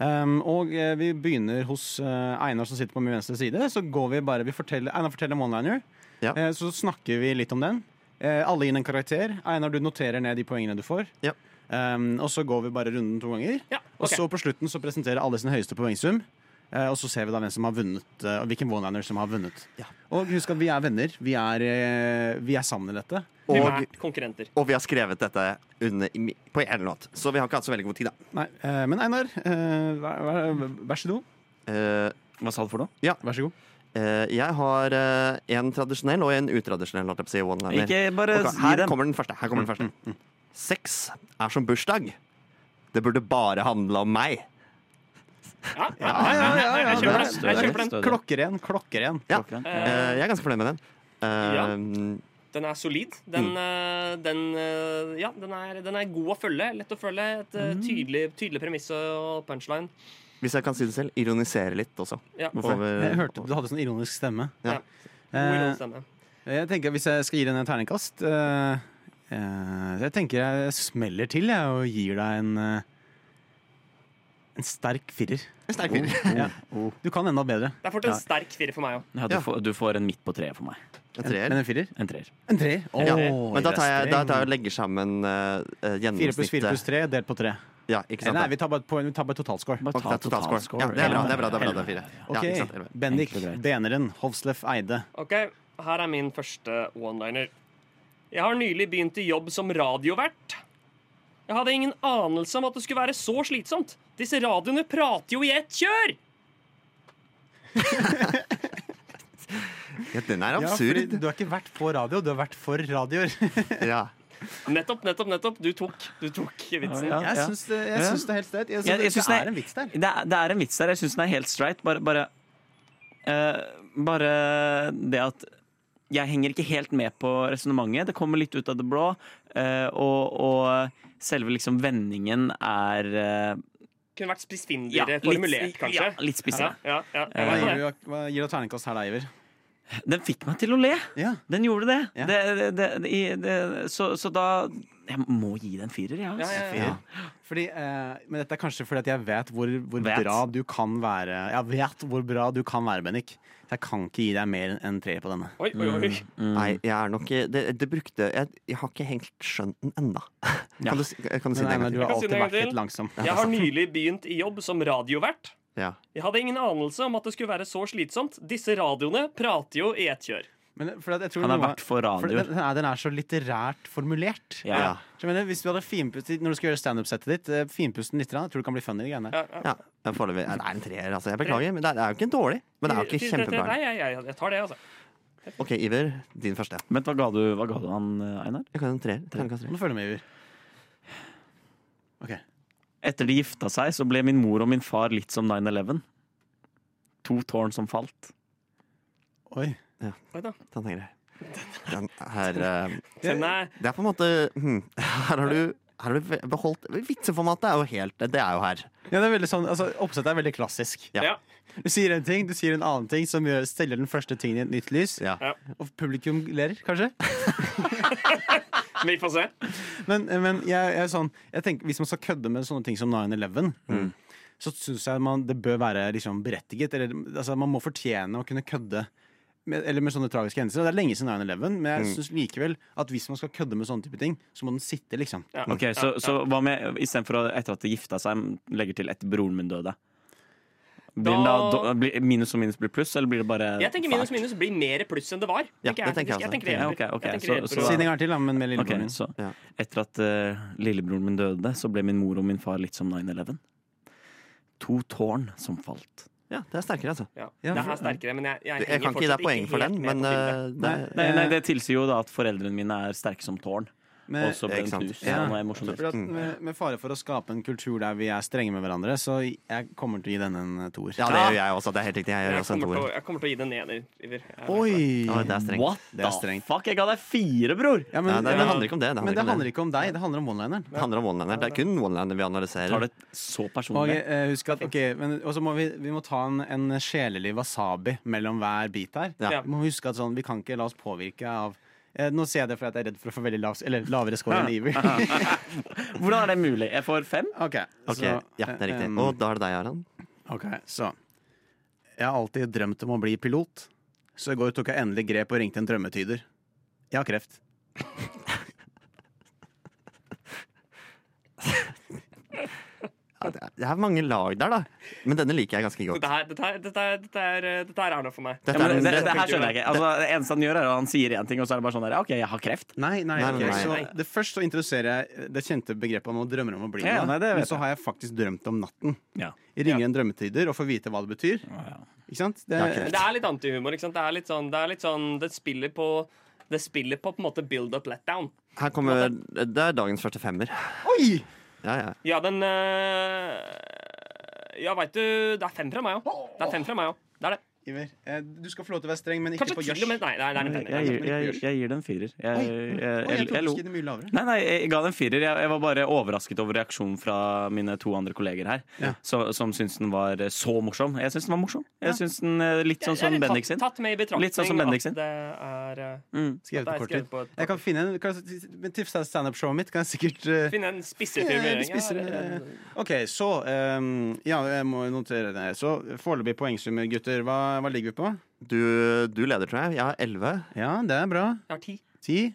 F: Um, og eh, vi begynner hos eh, Einar som sitter på min venstre side. Så går vi bare, vi forteller, Einar forteller en one-liner.
E: Ja.
F: Eh, så snakker vi litt om den. Eh, alle gir den en karakter. Einar, du noterer ned de poengene du får.
E: Ja.
F: Ehm, og så går vi bare runden to ganger.
G: Ja,
F: Og
G: ok.
F: så på slutten så presenterer alle sin høyeste poengsum. Eh, og så ser vi da hvem som har vunnet eh, og hvilken one-liner som har vunnet. Og husk at vi er venner. Vi er, eh, vi er sammen i dette.
E: Og,
G: Primært konkurrenter.
E: og vi har skrevet dette under, på en låt, så vi har ikke hatt så veldig god tid, da.
F: Nei, eh, men Einar, eh, vær, vær, vær så god.
E: Eh,
B: Hva sa du for noe?
F: Vær så god.
E: eh, jeg har eh, en tradisjonell og en utradisjonell, holdt jeg på å si. one-liner.
B: Ikke bare
E: Ok,
B: gi
E: her
B: dem.
E: kommer den første. Her kommer den
F: Mm,
E: første. Sex er som bursdag. Det burde bare handle om meg.
G: Ja, ja,
F: ja, ja, ja,
G: jeg kjøper den. Jeg kjøper den.
B: Stødig.
F: Klokkeren, klokkeren.
E: Ja,
B: Klokkeren.
E: eh, jeg er ganske fornøyd med den. Eh,
G: Ja. Den er solid. Den,
B: Mm.
G: eh, den, eh, ja, den, er, den er god å følge. Lett å følge. Et
B: Mm.
G: eh, tydelig, tydelig premiss og punchline.
E: Hvis jeg kan si det selv, ironisere litt også.
G: Ja. God
E: Over,
F: Jeg hørte du hadde sånn ironisk stemme.
E: Ja.
F: Eh,
G: innholdsstemme.
F: Jeg tenker at Hvis jeg skal gi den en terningkast eh, eh, Jeg tenker jeg smeller til jeg, og gir deg en eh, En sterk firer.
E: Sterkere.
F: Ja. Du kan enda bedre
G: Det er fort en sterk firer for meg òg.
B: Ja, du,
E: Ja.
B: Får, du får en midt på treet for meg.
E: En
F: enn
E: treer.
F: en firer.
B: En treer.
F: En treer. Åh,
E: Ja. Men da tar jeg, da
F: streng.
E: tar jeg og legger sammen eh, eh,
F: Fire pluss fire pluss
E: gjennomsnittet.
F: tre delt på tre.
E: Ja, ikke
F: Eh,
E: sant?
F: Nei, vi tar bare, et poeng, vi tar bare totalscore.
B: Bare
E: Ok, det er totalscore.
B: totalscore.
E: Ja, det er bra. Det er bra, det er bra, det er fire. Ja,
F: Ok,
E: ikke sant, elleve.
F: Bendik,
B: Enkelt og greit.
F: Beneren, Hofslef Eide.
G: Ok, her er min første one-liner. Jeg har nylig begynt i jobb som radiovert. Jeg hadde ingen anelse om at det skulle være så slitsomt. Disse radioene prater jo i ett kjør!
E: ja, den er
F: Ja,
E: absurd.
F: fordi du har ikke vært på radio, du har vært for radioer.
E: Ja.
G: Nettopp, nettopp, nettopp. Du tok, du tok vitsen.
B: Ja,
F: Jeg
B: ja.
F: syns det, jeg syns det er helt streit. Jeg,
B: Jeg- jeg
F: syns
B: syns
F: det
B: det-
F: er en vits der.
B: Det er, det er en vits der. Jeg syns den er helt straight. Bare, bare, eh, bare det at jeg henger ikke helt med på resonnementet. Det kommer litt ut av det blå. eh, og, og selve liksom vendingen er eh,
G: Kunne vært spissfindigere
B: ja, litt-
G: formulert, kanskje.
B: Ja, litt spissere.
G: Ja,
F: Hva
G: ja, ja. Jeg var
F: gir
G: på det.
F: du, hva gir du terningkast her da, Iver?
B: Den fikk meg til å le.
F: Ja.
B: Den gjorde det.
F: Ja.
B: det, det, det, i- det så, så da Jeg må gi det en firer, jeg.
G: Ja,
B: altså.
G: ja, ja.
F: Ja. Fordi, eh, men dette er kanskje fordi at jeg vet hvor, hvor
B: Vet.
F: bra du kan være Jeg vet hvor bra du kan være, Bennik. Så jeg kan ikke gi deg mer enn tre på denne.
G: Oi,
B: Eh,
G: oi, oi.
F: Mm.
E: Nei, jeg er nok Det, det brukte jeg, jeg har ikke helt skjønt den ennå.
B: Ja.
E: Kan du, si- kan du si det
F: Men
E: en
F: Einar,
E: gang
F: du
E: til?
F: har
G: Jeg kan si det
F: alltid
G: en gang
F: vært litt
G: til.
F: langsom.
G: Jeg har
E: altså.
G: nylig begynt i jobb som radiovert.
E: Ja.
G: Jeg hadde ingen anelse om at det skulle være så slitsomt. Disse radioene prater jo i ett kjør.
F: Men fordi at jeg tror
B: Han har
F: noe-
B: vært for
F: for
B: radioer.
F: den, den er- den er så litterært formulert.
B: Ja.
E: Ja.
F: Så jeg mener, hvis du hadde finpustet Når du skal gjøre standup-settet ditt, eh, finpust den litt, grann, jeg tror du kan bli funny. de greiene der.
G: Ja, ja.
E: Ja, men foreløpig. ja, Det er en treer, altså. Jeg beklager, men det er, det er jo ikke dårlig. Men det er jo ikke kjempebra.
G: Nei, jeg, jeg, jeg tar det, altså.
E: OK, Iver, din første.
B: Vent, hva ga du, hva ga du han, eh, Einar?
E: Jeg kan en treer. Terningkast tre.
F: Nå følger du med, Iver. Ok.
B: Etter de gifta seg, så ble min mor og min far litt som 9-11. To tårn som falt.
F: Oi.
G: Oi da.
E: Den er grei. Den her eh,
G: Den er,
E: Det er på en måte hm, Her har du her har du ve- beholdt Vitseformatet er jo helt Det er jo her.
F: Ja, det er veldig sånn, altså, oppsettet er veldig klassisk.
E: Ja.
G: ja.
F: Du sier en ting, du sier en annen ting som gjør, steller den første tingen i et nytt lys.
E: Ja.
G: Ja.
F: Og publikum ler, kanskje.
G: eh, Vi får se.
F: Men, men jeg, jeg, er sånn, jeg tenker, hvis man skal kødde med sånne ting som 9-11,
B: Mm.
F: så syns jeg man, det bør være liksom berettiget. Eller, altså, man må fortjene å kunne kødde med, eller med sånne tragiske hendelser. Og Det er lenge siden 9-11, men
B: Mm.
F: jeg synes likevel at hvis man skal kødde med sånne type ting, så må den sitte, liksom.
G: Ja.
B: Ok, Så, så hva med istedenfor å etter at de gifta seg, legger til etter broren min døde? Blir den da,
G: Da-
B: do- blir minus og minus blir pluss, eller blir det bare
G: Jeg tenker minus minus blir mer pluss enn det var.
E: Ja,
G: tenker
E: det
G: jeg,
E: tenker jeg
G: faktisk.
E: også.
G: tenker det
B: Ja,
G: hjelper.
B: ok, ok,
G: Jeg tenker
B: så-
G: det hjelper
B: så-
G: å-
F: Si det en gang til, da, men med
B: Ok,
F: lillebroren min.
B: så
E: Ja.
B: Etter at eh, lillebroren min døde, så ble min mor og min far litt som 9-11. To tårn som falt.
E: Ja, det er sterkere, altså.
G: ja.
F: Ja,
G: Det
F: for-
G: er sterkere, men jeg, jeg,
E: Jeg
G: henger
E: kan ikke gi deg
G: fortsatt
E: poeng for
G: helt
E: den,
G: med
E: men
G: på bildet.
E: eh, det er
B: Nei, nei, det tilsier jo da at foreldrene mine er sterke som tårn.
F: Men-
B: Og så ble
E: Ikke
B: den
E: sant.
B: knust.
F: Eh, Ja.
B: og nå er jeg emosjonell.
F: Fordi at med, med fare for å skape en kultur der vi er strenge med hverandre, så jeg kommer til å gi denne en eh, toer.
E: Ja, det gjør jeg også. Det er helt riktig. Jeg gjør
G: Jeg
E: også en
G: kommer, til,
E: toer.
G: å- jeg kommer til å gi det en ener. Iver. Jeg er-
E: Oi,
F: Oi!
E: det er strengt.
B: What
F: Det er
B: the
F: strengt.
B: fuck? Jeg ga deg fire, bror!
F: Ja, men,
E: Nei, det, det handler ikke om det. Det handler ikke
F: men det
E: om
F: handler
E: det.
F: ikke om deg, det handler om one-lineren.
E: Det handler om one-liner. Det er kun one-liner vi
B: Tar
E: analyserer.
B: det så
F: Og
B: personlig?
F: eh, husk at, ok, men også må vi, vi må ta en, en sjelelig wasabi mellom hver bit her.
E: Ja.
F: Vi må huske at sånn, vi kan ikke la oss påvirke av eh, Nå sier jeg det fordi at jeg er redd for å få veldig lav, eller, lavere score enn Iver.
B: Hvordan er det mulig? Jeg får fem?
F: Ok,
E: Ok,
F: så,
E: ja, det er riktig.
F: eh,
E: Og da er det deg, Aran.
F: ok, så Jeg har alltid drømt om å bli pilot, så i går tok jeg endelig grep og ringte en drømmetyder. Jeg har kreft.
E: Ja, det er- det er mange lag der, da. Men denne liker jeg ganske godt.
G: Dette her, dette, her, dette, her, dette, her, eh, dette her er noe for meg.
E: Dette
B: Ja,
E: er
B: men det,
E: den-
B: det, det her skjønner jeg ikke. Altså, det eneste han gjør, er at han sier én ting, og så er det bare sånn der OK, jeg har kreft.
F: Nei,
E: Nei,
F: nei,
E: nei,
F: ok,
E: nei.
F: Så det først så introduserer jeg det kjente begrepet om å drømme om å bli
B: Ja, nei,
F: noe,
B: det
F: men
B: vet jeg.
F: så har jeg faktisk drømt om natten.
B: Ja.
F: Jeg ringer en drømmetyder og får vite hva det betyr. Ikke sant? Det,
E: Ja,
G: Men Det er litt antihumor. ikke sant? Det er litt sånn, det er litt sånn, det spiller på det spiller på på en måte build up let down.
E: Her kommer Det er dagens første femmer.
F: Oi!
E: Ja, ja.
G: Ja, den øh, Ja, veit du Det er fem fra meg òg. Det er fem fra meg òg. Det er det.
F: Iver, eh, du skal få lov til å være streng, men ikke
G: Kanskje
F: på
G: til og
F: gjørs.
G: med Nei, det er- det er en
B: Jeg,
G: femmer.
B: jeg, jeg, jeg gir det en firer. Jeg,
F: Oi,
B: jeg,
F: oi,
B: jeg,
F: jeg
B: jeg,
F: trodde du
B: lo.
F: skulle gi det mye lavere.
B: Nei, nei, jeg ga det en firer. Jeg, jeg var bare overrasket over reaksjonen fra mine to andre kolleger her, så, som syntes den var eh, så morsom. Jeg syns den var morsom. Jeg synes den eh, Litt sånn som
G: Eller tatt-
B: Bendik sin. Mm.
G: Tatt med i betraktning
B: Litt sånn som Bendik sin.
G: at det er
F: Skrevet
G: øh, Det
F: på
G: er skrevet på
F: kortet.
G: et
F: Jeg kan finne en kan, men Tips deg standup-showet mitt. Kan jeg sikkert eh,
G: Finne en spissere
F: eh,
G: formulering.
F: spisse det.
G: Ja,
F: OK, så eh, Ja, jeg må notere det. Så foreløpig poengsummer, gutter. Hva, hva ligger vi på?
E: Du, du leder, tror jeg. Jeg har elleve.
F: Ja, det er bra.
G: Jeg har ti.
F: Ti.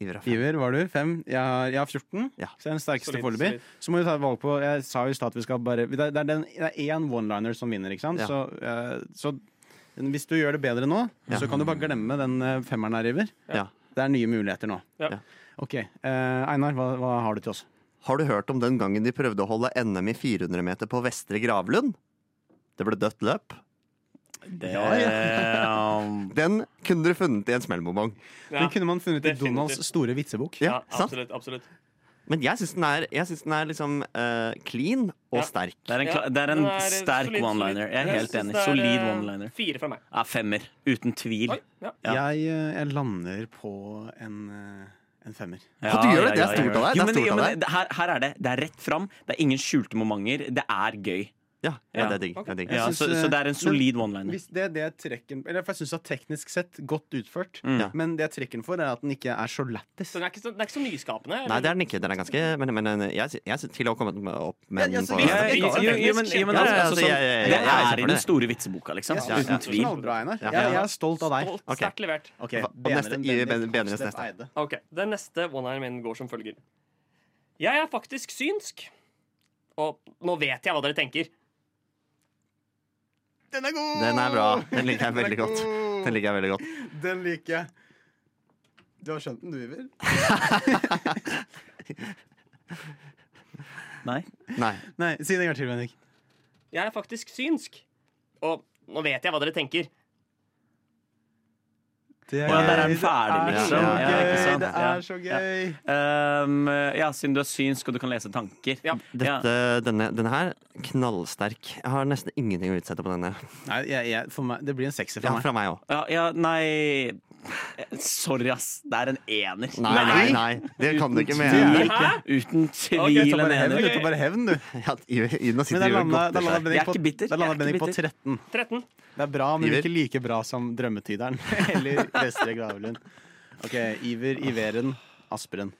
E: Iver har fem.
F: Iver var du. Fem. Jeg har, jeg har 14.
E: Ja.
F: Så jeg er den sterkeste
G: Solid,
F: foreløpig.
G: solid.
F: Så må vi ta et valg på Jeg sa jo i stad at vi skal bare Det er- det er den- det er én one-liner som vinner, ikke sant?
E: Ja.
F: Så, eh, så hvis du gjør det bedre nå,
E: Ja.
F: så kan du bare glemme den eh, femmeren her, Iver.
E: Ja.
F: Det er nye muligheter nå.
G: Ja.
E: Ja.
F: OK. eh, Einar, hva, hva har du til oss?
E: Har du hørt om den gangen de prøvde å holde NM i 400 meter på Vestre Gravlund? Det ble dødt løp.
B: Det,
F: Ja,
E: Den kunne dere funnet i en smellbonbong.
G: Ja,
F: Den kunne man funnet i
G: definitivt.
F: Donalds store vitsebok.
E: Ja,
G: ja,
E: sant?
G: absolutt. absolutt.
E: Men jeg syns den er, jeg synes den er liksom eh, clean og
G: Ja.
E: sterk.
B: det er en,
G: Ja,
B: kla- det er
G: den
B: en
G: er
B: sterk
G: solid, solid.
B: one-liner. Jeg er helt
G: synes
B: enig.
G: det er,
B: Solid
G: eh,
B: one-liner.
G: Fire fra meg.
B: Ja, femmer. Uten tvil.
G: Oi, ja.
F: Jeg, eh, jeg lander på en, eh, en femmer.
B: Ja,
E: du gjør det.
B: ja,
E: Det er
B: ja,
E: stort
B: ja.
E: av deg.
B: Jo,
E: Det er
B: men-
E: stort
B: jo,
E: av
B: men
E: deg.
B: det- Her, her er det. Det er rett fram. Det er ingen skjulte momenter. Det er gøy.
E: Ja, ja,
B: Ja.
E: det er digg. Det er digg.
B: Ja,
F: synes,
B: så,
F: eh,
B: så det er en solid one-liner.
F: Hvis det, er det trekken, eller for jeg syns det er teknisk sett godt utført,
E: Ja.
F: men det jeg trekker den for, er at den ikke er så lættis.
G: Så den Sånn er ikke så, den er ikke så nyskapende.
E: Nei, det er den ikke. Den er ganske Men, men jeg, sy- jeg syns til å komme opp med
F: Ja,
E: den
F: altså,
E: på
F: vi-
B: Ja,
F: jeg-
B: jo, jo, jo, men, jo, men
E: Ja, ja,
B: altså, altså,
E: altså,
B: sånn,
E: jeg- jeg- jeg- jeg er
B: det er i
E: for
B: den
E: det.
B: store vitseboka, liksom.
F: Ja,
E: ja.
B: Uten tvil.
F: Knallbra, Einar.
E: Ja.
F: Jeg, jeg er stolt av deg.
G: Stolt,
E: Ok.
G: Sterkt levert.
F: Ok,
E: Hva- hva neste- i- ben- Benres
F: Hofstedt
E: neste.
F: Eide.
G: Ok, Den neste one-eren min går som følger. Jeg er faktisk synsk. Og nå vet jeg hva dere tenker.
F: Den er god!
E: Den er bra. Den liker jeg veldig
F: er
E: godt.
F: god.
E: Den liker jeg veldig godt.
F: Den liker jeg. Du har skjønt den, du, Iver?
B: Nei.
E: Nei.
F: Nei, si det en gang til, Bendik.
G: Jeg er faktisk synsk. Og nå vet jeg hva dere tenker.
B: Å,
F: Det
B: ja, der er den
F: gøy, det
B: ferdig,
F: er
E: liksom.
F: så
E: Ja,
F: gøy,
B: ikke sant?
F: Det
B: Ja.
F: er så gøy.
B: Ehm, ja, siden du er synsk og du kan lese tanker.
G: Ja.
E: Dette, denne, denne her, knallsterk. Jeg har nesten ingenting å utsette på denne.
F: Nei, jeg, jeg, for meg, det blir en sekser
E: Ja,
F: for meg.
E: fra meg òg.
B: Ja, ja, nei Sorry, ass. Det er en ener.
E: Nei, nei, nei. Det kan du ikke mene.
B: Tvil. Uten
G: Ok,
B: tvil
F: Ta
B: en
F: bare hevn,
B: ener.
F: du, ta bare hevn, du.
E: Ja, Iver- Ina
F: Men
E: sitter
F: der
E: jo
F: landa,
E: godt
F: der
E: i
F: landa
E: seg.
B: Jeg er
F: Bendik på,
B: ikke bitter.
F: der landa
B: Jeg er ikke
F: Bendik på
B: bitter.
F: 13.
G: 13.
F: Det er bra, men
E: Iver.
F: ikke like bra som Drømmetyderen eller Vestre Gravlund. OK, Iver, Iveren, Asperen.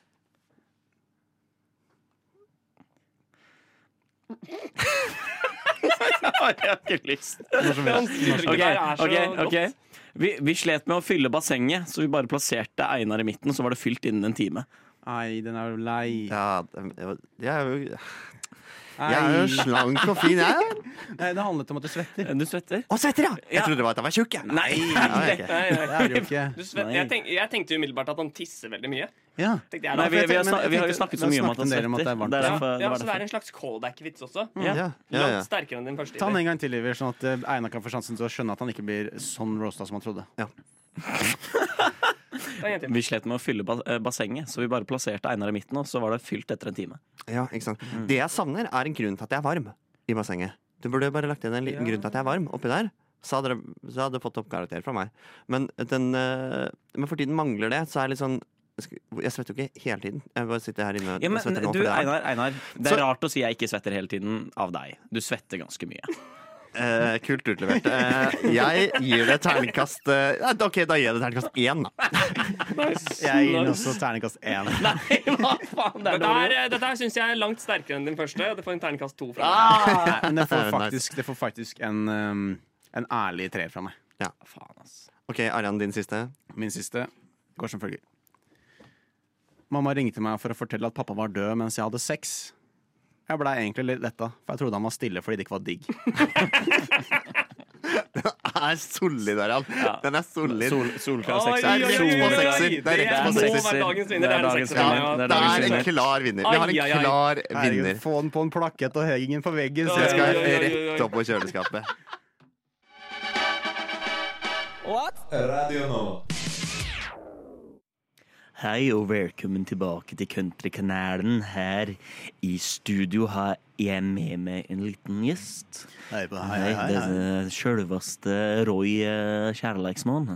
B: Jeg har ikke lyst.
F: Hvor som helst.
B: Ok,
G: Der er så
B: ok,
G: godt.
B: ok vi, vi slet med å fylle bassenget, så vi bare plasserte Einar i midten, så var det fylt innen en time.
F: Nei, den er jo lei.
E: Ja, det- jeg er jo,
F: Nei,
E: jeg er jo slank og fin, jeg.
F: Nei, det handlet om at du svetter.
B: Du svetter?
E: Å, svetter, ja! Jeg
B: Ja.
E: trodde det var at jeg var tjukk, jeg.
B: Nei!
E: Ja, ok.
G: Nei, nei,
F: Det
G: nei.
F: er det jo ikke.
G: Du, Sven,
B: Nei.
G: jeg, tenk, jeg tenkte umiddelbart at han tisser veldig mye.
F: Ja.
G: Tenkte jeg da.
B: Nei, vi, vi, har,
F: Men jeg
B: snak- vi har jo
F: tenkte-
B: snakket
F: vi
B: så
F: har
B: mye om at han
F: snakket en del om at
B: svetter.
F: det er varmt.
B: Det er
G: ja,
B: derfor- det var
G: ja, så det
B: derfor. Mm.
G: er en slags callback-vits også.
E: Ja, ja, ja, ja.
G: Langt sterkere enn din første.
F: Ta den
G: idé.
F: en gang til, Iver, sånn at eh, Einar kan få sjansen til å skjønne at han ikke blir sånn roasta som han trodde.
G: Ta en gang til.
B: Vi slet med å fylle bas- eh, bassenget, så vi bare plasserte Einar i midten, og så var det fylt etter en time.
E: Ja, ikke sant? Det jeg savner, er en grunn til at jeg er varm i bassenget. Du burde jo bare lagt inn en liten grunn til at jeg er varm oppi der. Så hadde, dere- så hadde du fått toppkarakter fra meg. Men, den, eh, men for tiden mangler det, så er jeg litt sånn Jeg svetter jo ikke hele tiden. Jeg bare sitter her inne og
B: Ja, men
E: svetter nå.
B: du,
E: fordi det er varmt.
B: Einar, Einar, det er
E: Så-
B: rart å si jeg ikke svetter hele tiden av deg. Du svetter ganske mye.
E: Eh, kult utlevert. Eh, jeg gir det terningkast eh, nei, OK, da gir jeg det terningkast én, da.
F: Jeg gir den også terningkast én.
B: Nei, hva faen? Det er
G: Dette,
B: dårlig.
G: er, eh, dette her syns jeg er langt sterkere enn din første. Det får en terningkast to fra meg.
B: Ah!
F: Nei, Men det får
E: Nice.
F: faktisk, det får faktisk en, um, en ærlig treer fra meg.
B: Faen, ass.
E: OK, Arian, din siste.
F: Min siste går som følger. Mamma ringte meg for å fortelle at pappa var død mens jeg hadde sex. Jeg blei egentlig litt letta, for jeg trodde han var stille fordi det ikke var digg.
E: er solid, Arian. Den er solid.
B: Sol, solklar
G: Oi,
B: sekser.
G: oi,
E: Det er
G: oi,
E: rett på
G: oi, oi.
E: sekser. Det er rett på
G: Det må
E: sekser.
G: være dagens
B: Det er
G: vinner. Det er en
B: dagens
E: Ja,
G: sekser.
B: vinner.
E: det
B: Det er
E: er
B: dagens
E: en
B: vinner.
E: klar vinner. Vi har
G: Ai, ai,
E: en
G: ai.
E: klar
F: Herregud,
E: vinner.
F: få den på en plakett og henge den på veggen. Så
E: Jeg
G: Oi,
F: jeg skal
E: skal
G: oi, oi, oi, oi.
E: rett opp på kjøleskapet.
C: Radio Nova.
B: Hei og velkommen tilbake til Countrykanalen. Her i studio har jeg med meg en liten gjest.
F: Hei på deg,
B: Hei, det er sjølveste Roy eh, Kjærleiksmann.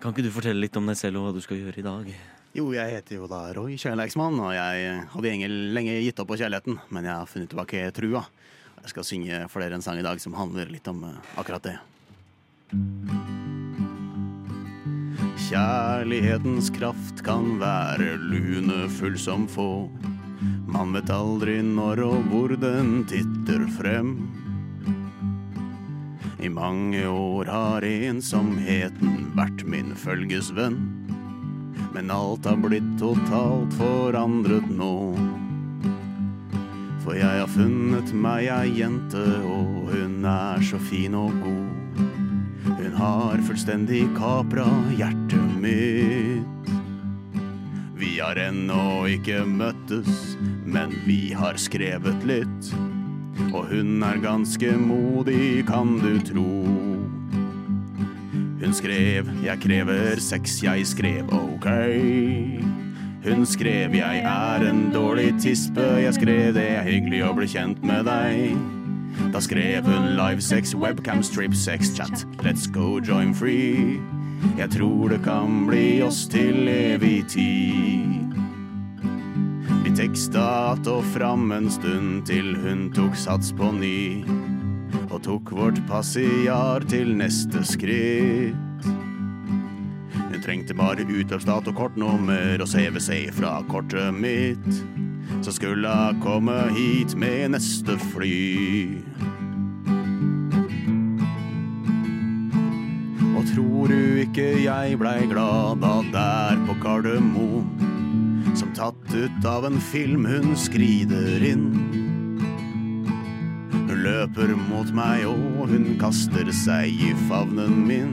B: Kan ikke du fortelle litt om deg selv og hva du skal gjøre i dag?
F: Jo, jeg heter jo da Roy Kjærleiksmann, og jeg hadde egentlig lenge gitt opp på kjærligheten, men jeg har funnet tilbake trua. Jeg skal synge for dere en sang i dag som handler litt om eh, akkurat det. Kjærlighetens kraft kan være lunefull som få. Man vet aldri når og hvor den titter frem. I mange år har ensomheten vært min følgesvenn. Men alt har blitt totalt forandret nå. For jeg har funnet meg ei jente, og hun er så fin og god. Hun har fullstendig kapra hjertet mitt. Vi har ennå ikke møttes, men vi har skrevet litt. Og hun er ganske modig, kan du tro. Hun skrev 'Jeg krever sex', jeg skrev 'ok'. Hun skrev 'Jeg er en dårlig tispe', jeg skrev 'Det er hyggelig å bli kjent med deg'. Da skrev hun 'livesex, webcam, strip, sex, chat'. Let's go, join free. Jeg tror det kan bli oss til evig tid. Vi teksta att og fram en stund til hun tok sats på ny og tok vårt passiar til neste skritt. Hun trengte bare utløpsdato, kortnummer og CVC fra kortet mitt. Så skulle hun komme hit med neste fly. Og tror du ikke jeg blei glad da der på Gardermoen? Som tatt ut av en film hun skrider inn. Hun løper mot meg og hun kaster seg i favnen min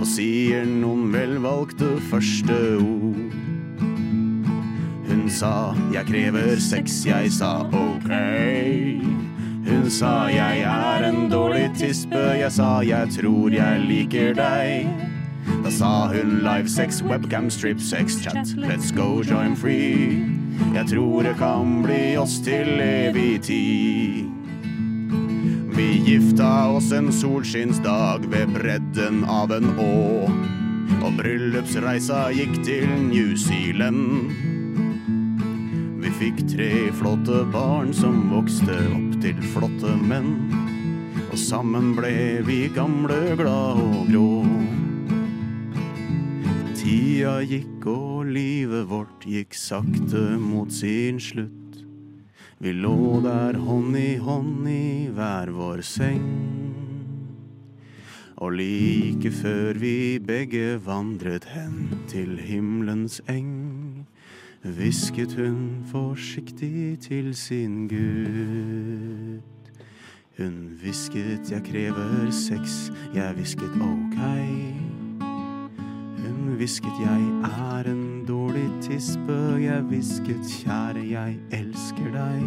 F: Og sier noen velvalgte første ord Hun sa jeg krever sex, jeg sa ok Hun sa jeg er en dårlig tispe, jeg sa jeg tror jeg liker deg da sa hun live sex, webcam, strip sex, chat Let's go, join free Jeg tror det kan bli oss til evig tid vi gifta oss en solskinnsdag ved bredden av en å. Og bryllupsreisa gikk til New Zealand. Vi fikk tre flotte barn som vokste opp til flotte menn. Og sammen ble vi gamle, glad og grå. Tida gikk og livet vårt gikk sakte mot sin slutt. Vi lå der hånd i hånd i hver vår seng. Og like før vi begge vandret hen til himmelens eng, hvisket hun forsiktig til sin gutt. Hun hvisket 'jeg krever sex', jeg hvisket 'ok'. Hun hvisket jeg er en dårlig tispe. Jeg hvisket kjære, jeg elsker deg.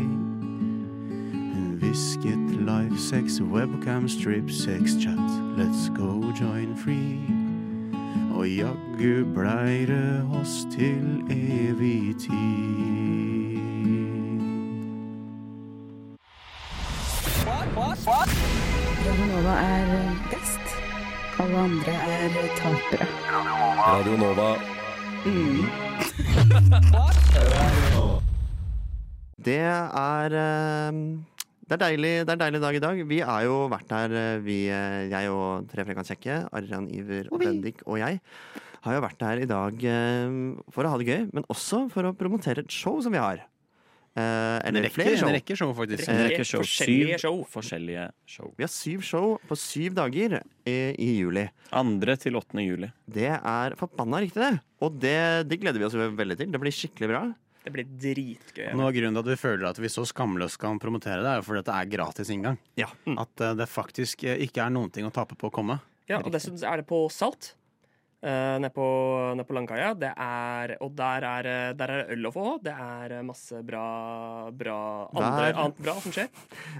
F: Hun hvisket life sex, webcam, strip sex, chat. Let's go join free. Og jaggu blei det oss til evig tid.
I: Radionova er best. Alle andre er tapere.
C: Radio Nova.
E: Det er eh, det er, deilig, det er deilig dag i dag. Vi har jo vært her, eh, vi, eh, jeg og Tre Frekan Kjekke, Arran Iver og Bendik og jeg, har jo vært her i dag eh, for å ha det gøy, men også for å promotere et show som vi har. Eh,
F: Det
E: eller
F: rekker,
E: flere
F: det
E: show.
F: rekker show, faktisk.
E: Eh,
B: Rekke show.
G: forskjellige
B: Syv
G: show.
B: forskjellige show.
E: Vi har syv show på syv dager i, i juli.
B: Andre til 8. juli.
E: Det er forbanna riktig, det. Og det, det gleder vi oss veldig til. Det blir skikkelig bra.
G: Det blir dritgøy.
F: Noe av grunnen til at vi føler at vi så skamløst kan promotere det, er jo fordi at det er gratis inngang.
E: Ja.
F: At eh, det faktisk eh, ikke er noen ting å tape på å komme.
G: Ja, og dessuten så er det på Salt. Uh, Nede på, ned på Langkaia. Det er, og der er, eh, der er øl å få. Det er eh, masse bra, bra andre,
E: Der.
G: annet bra som skjer.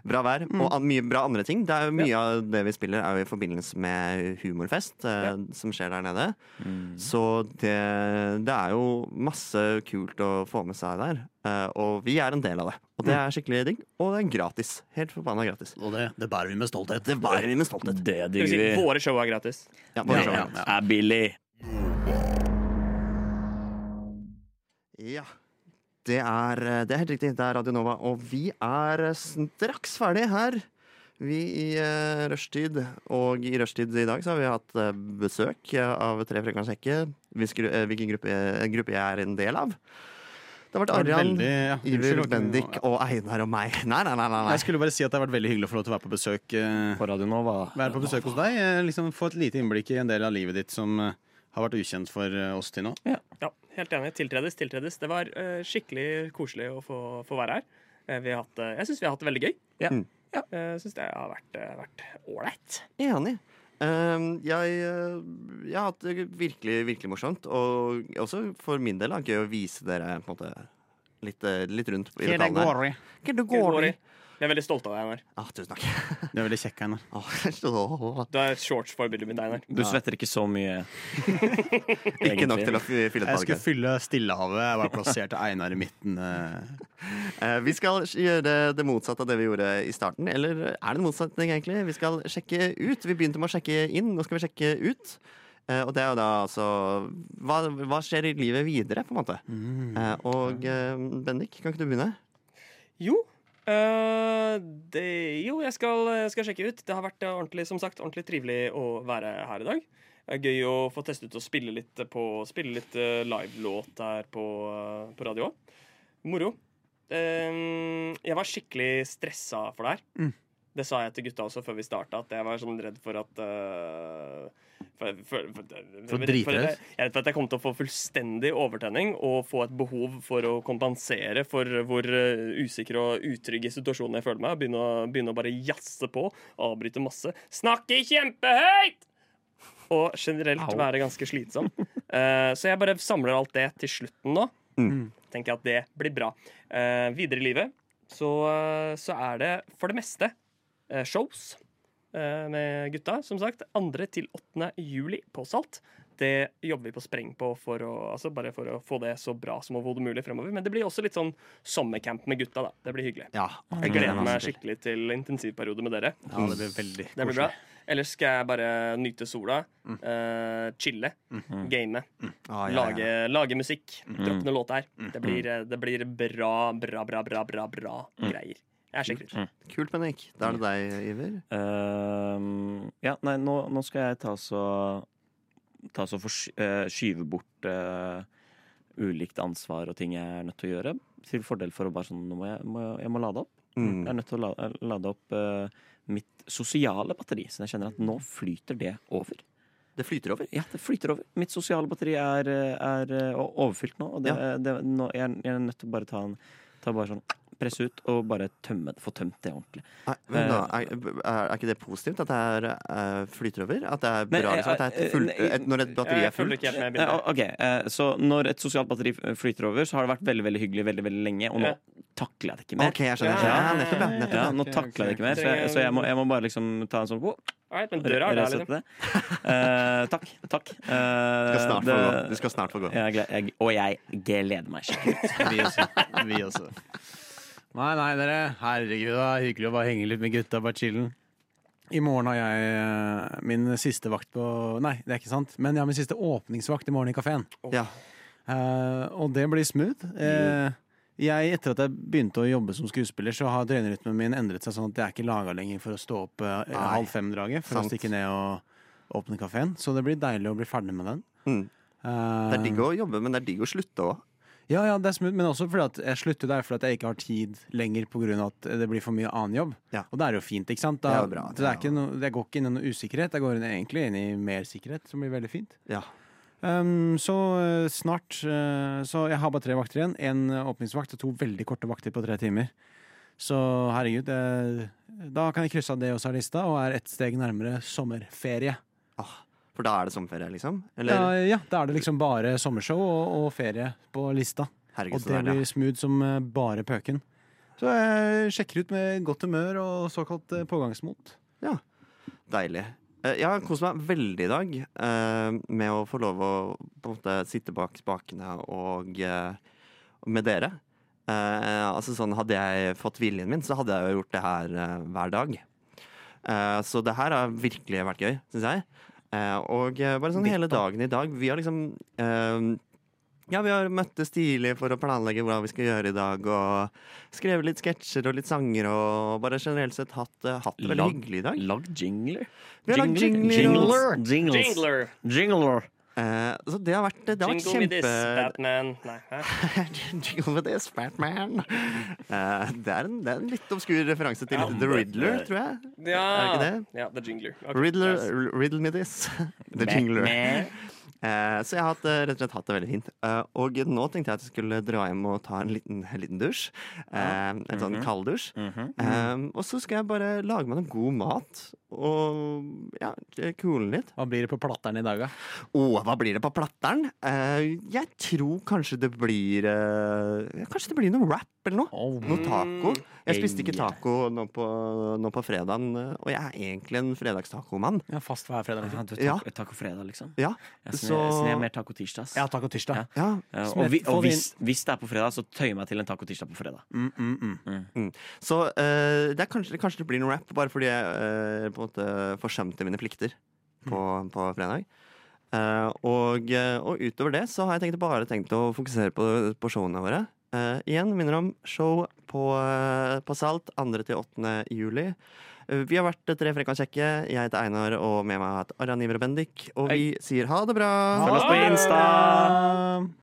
E: Bra vær og an mye bra andre ting. Det er jo Mye av det vi spiller, er jo i forbindelse med humorfest eh, som skjer der nede.
B: Mm.
E: Så det, det er jo masse kult å få med seg der. eh, og vi er en del av det. Og det er skikkelig digg. Og det er gratis. Helt forbanna gratis.
F: Og det, det bærer vi med stolthet.
E: Det bærer vi med stolthet.
B: Det
G: Det
B: digger
G: vil si,
B: vi.
G: våre show er gratis.
E: Ja, bare
F: Ja,
E: sånn.
F: ja, ja.
B: Er billig.
E: Ja. Det er, eh, det er helt riktig. Det er Radio Nova. Og vi er eh, straks ferdig her. Vi i uh, rushtid. Og i rushtid i dag så har vi hatt eh, besøk eh, av Tre frekvenssjekke. Hvilken gruppe, eh, gruppe jeg er en del av. Det har vært
F: Det var
E: Arian,
F: veldig- ja,
E: Iver,
F: unnskyld, det var ikke-
E: Bendik og Einar og meg. Nei, nei, nei. nei,
F: Jeg
E: nei.
F: skulle bare si at det har vært veldig hyggelig å få lov til å være på besøk, eh,
B: På Radio Nova.
F: være på besøk hos deg. eh, Liksom få et lite innblikk i en del av livet ditt som eh, har vært ukjent for eh, oss til nå.
G: Ja, helt enig. Tiltredes, tiltredes. Det var eh, skikkelig koselig å få, få være her. Eh, vi har hatt, eh, jeg syns vi har hatt det veldig gøy.
B: Ja.
G: Mm. Jeg syns det har vært eh, vært ålreit.
E: Enig. Ehm, jeg, eh, jeg har hatt det virkelig, virkelig morsomt. Og også for min del er det gøy å vise dere på en måte, litt, eh, litt rundt i lokalene. her. Hva det går i?
G: Vi er veldig stolte av deg, Einar.
E: Ah, tusen takk.
F: Det er veldig kjekk her nå.
E: Åh, så-
G: Du er shortsforbildet mitt, Einar.
B: Du svetter ikke så mye.
E: Ikke nok til å fy- fylle
F: Jeg
E: et
F: skulle
E: valg.
F: fylle Stillehavet. Jeg var plassert Einar i midten. eh.
E: Eh, Vi skal gjøre det motsatte av det vi gjorde i starten. Eller er det en motsetning, egentlig? Vi skal sjekke ut. Vi begynte med å sjekke inn, nå skal vi sjekke ut. Eh, Og det er jo da altså Hva, hva skjer i livet videre, på en måte? Eh, Og eh, Bendik, kan ikke du begynne?
G: Jo. øh, det, jo, jeg skal, jeg skal sjekke ut. Det har vært øh, ordentlig, som sagt, ordentlig trivelig å være her i dag. Det er gøy å få teste ut og spille litt, på, spille litt øh, live-låt her på, øh, på radio òg. Moro. Ehm, jeg var skikkelig stressa for det her. Det sa jeg til gutta også før vi starta, at jeg var sånn redd for at øh, for, for,
F: å
G: for,
F: drite
G: for-
F: deg ut?
G: Jeg er redd for at jeg kommer til å få fullstendig overtenning og få et behov for å kompensere for hvor eh, usikker og utrygg i situasjonen jeg føler meg. Begynne å, begynne å bare jazze på, avbryte masse. Snakke kjempehøyt! Og generelt være ganske slitsom. Eh, så jeg bare samler alt det til slutten nå. Tenker jeg at det blir bra. Eh, videre i livet så, eh, så er det for det meste eh, shows eh, med gutta, som sagt. 2. til 8. juli på Salt. Det jobber vi på spreng på for å, altså bare for å få det så bra som overhodet mulig fremover. Men det blir også litt sånn sommercamp med gutta, da. Det blir hyggelig.
E: Ja.
G: Jeg gleder meg skikkelig til intensivperiode med dere.
F: Ja, det blir veldig
G: Det blir bra. Ellers skal jeg bare nyte sola, eh, chille,
B: Mm.
G: game,
E: Ah, Mm. ja, Mm. ja.
G: lage, lage musikk, droppe noen låter. Det blir, eh, det blir bra, bra, bra, bra, bra, bra
E: Mm.
G: greier. Jeg sjekker ut.
B: Mm.
E: Kult, Bendik. Da er det deg, Iver.
B: Ehm, ja, nei, nå, nå skal jeg ta så Ta så for, skyve bort eh, ulikt ansvar og ting jeg er nødt til å gjøre. Til fordel for å bare sånn Nå må jeg, må, jeg må lade opp.
E: Mm.
G: Mm.
B: Jeg er nødt til å la, lade opp eh, mitt sosiale batteri. Så jeg kjenner at nå flyter det over.
E: Det flyter over.
B: Ja, det flyter over. Mitt sosiale batteri er, er eh, overfylt nå. Og det, det, nå jeg, er- jeg er nødt til å bare ta en ta bare sånn, Presse ut og bare tømme det. Få tømt det ordentlig.
E: Nei, men da,
B: Eh.
E: er, er er ikke det positivt at det er, eh, flyter over? At det er
B: Nei,
E: bra? Liksom, at det er
B: eh,
E: full,
B: eh,
E: et, når et batteri er
G: Jeg følger
E: fullt?
G: ikke helt med i
B: Eh,
G: bildet.
B: ok, eh, Så når et sosialt batteri flyter over, så har det vært veldig veldig hyggelig veldig, veldig lenge, og nå
G: Ja.
B: takler jeg det ikke mer.
E: Ah, Ok, jeg skjønner. jeg skjønner. Ja, nettopp, ja. Nettopp,
B: Ja,
E: ja.
B: nå takler jeg det ikke mer, så jeg, så jeg, må, jeg må bare liksom ta en sånn wow,
G: Alright, men døra er der,
B: resette
G: liksom.
B: det. Eh, takk. takk. Eh,
E: Du skal snart få
B: det-
E: gå. Du skal snart få gå.
B: Jeg, gle- jeg, og jeg gleder meg skikkelig.
F: Vi også. Vi også. Nei, nei, dere. Herregud, det er hyggelig å bare henge litt med gutta, bare chillen. I morgen har jeg eh, min siste vakt på Nei, det er ikke sant. Men jeg har min siste åpningsvakt i morgen i kafeen.
E: Ja.
F: Eh, og det blir smooth. Eh, jeg, etter at jeg begynte å jobbe som skuespiller, så har døgnrytmen min endret seg sånn at jeg er ikke laga lenger for å stå opp eh,
E: Nei.
F: halv fem-draget for
E: Sant.
F: å stikke ned og åpne kafeen. Så det blir deilig å bli ferdig med den.
E: Mm. Det er
F: Eh,
E: digg å jobbe, men det er digg å slutte òg.
F: Ja, ja, det er smooth, men også fordi at jeg slutter der fordi at jeg ikke har tid lenger pga. at det blir for mye annen jobb.
E: Ja.
F: Og det er jo fint, ikke sant?
E: Det
F: Da,
E: er jo bra, det
F: det
E: er
F: er ikke noe, jeg går ikke inn i noe usikkerhet, jeg går inn, egentlig inn i mer sikkerhet, som blir veldig fint.
E: Ja.
F: Um, så eh, snart eh, Så jeg har bare tre vakter igjen. Én åpningsvakt og to veldig korte vakter på tre timer. Så herregud, eh, da kan jeg krysse av det også av lista, og er ett steg nærmere sommerferie.
E: Ah, for da er det sommerferie, liksom?
F: Ja,
E: Eller?
F: ja, da er det liksom bare sommershow og, og ferie på lista.
E: Herregud,
F: Og
E: så
F: det
E: deilig.
F: blir smooth som eh, bare pøken. Så jeg sjekker ut med godt humør og såkalt eh, pågangsmot.
E: Deilig. Eh, Jeg har kost meg veldig i dag eh, med å få lov å på en måte sitte bak spakene og eh, med dere. Eh, altså sånn Hadde jeg fått viljen min, så hadde jeg jo gjort det her eh, hver dag. Eh, så det her har virkelig vært gøy, syns jeg. Eh, og eh, bare sånn hele dagen i dag. Vi har liksom eh, ja, vi har møttes tidlig for å planlegge hva vi skal gjøre i dag, og skrevet litt sketsjer og litt sanger, og bare generelt sett hatt, eh, hatt det veldig
B: Lag-
E: hyggelig i dag.
B: Lagd jingler?
E: Vi har lagd
B: Jingler.
E: jingler.
B: Jingles. Jingles.
G: Jingler.
B: Jingler.
E: Eh, så det har vært, det har vært
G: Jingle me this,
E: kjempe...
G: Batman. Nei, hæ?
E: Jingle with this, Batman. Eh, det, er en, det er en litt obskur referanse til The Riddler, tror jeg. Er det
G: Ja.
E: ikke
G: ja, The Jingler. Ok,
E: Riddler,
G: nice.
E: riddle me this. The Jingler.
B: Batman.
E: Eh, så jeg har hatt, eh, rett og slett hatt det veldig fint. Eh, og nå tenkte jeg at jeg skulle dra hjem og ta en liten, en liten dusj. Eh, En
G: Mhm.
E: sånn kalddusj. Eh, og så skal jeg bare lage meg noe god mat og ja, kule litt.
F: Hva blir det på platteren i dag, da?
E: Åh, hva blir det på platteren? Eh, jeg tror kanskje det blir eh, Kanskje det blir noe wrap eller noe.
F: Oh.
B: Mm,
E: Noe taco. Jeg spiste ikke
B: Hey.
E: taco nå på, nå på fredagen, eh, og jeg er egentlig en fredagstacomann.
F: Ja, fast hver fredag.
B: Ja, du, taco,
E: Ja.
B: taco fredag, liksom.
E: Ja,
B: Jeg
E: så-
B: sner, jeg sner mer taco tirsdag. ass.
F: Ja, taco tirsdag.
B: Ja.
E: ja.
B: Ja,
F: Smett,
B: og vi,
F: får
B: og
F: vi
B: hvis, hvis det er på fredag, så tøyer jeg meg til en taco tirsdag på fredag.
F: Mm, mm, mm.
E: Så eh, det er kanskje, kanskje det blir noe wrap, bare fordi jeg eh, på en måte forsømte mine plikter på, på fredag. Eh, og, eh, og utover det så har jeg tenkt, bare tenkt å fokusere på, på showene våre. Eh, igjen minner om show på, eh, på Salt 2. til 8. juli. Eh, vi har vært Tre frekka kjekke. Jeg heter Einar, og med meg har jeg hatt Aran Iver og Bendik. Og vi sier ha det bra!
B: Følg oss på Insta!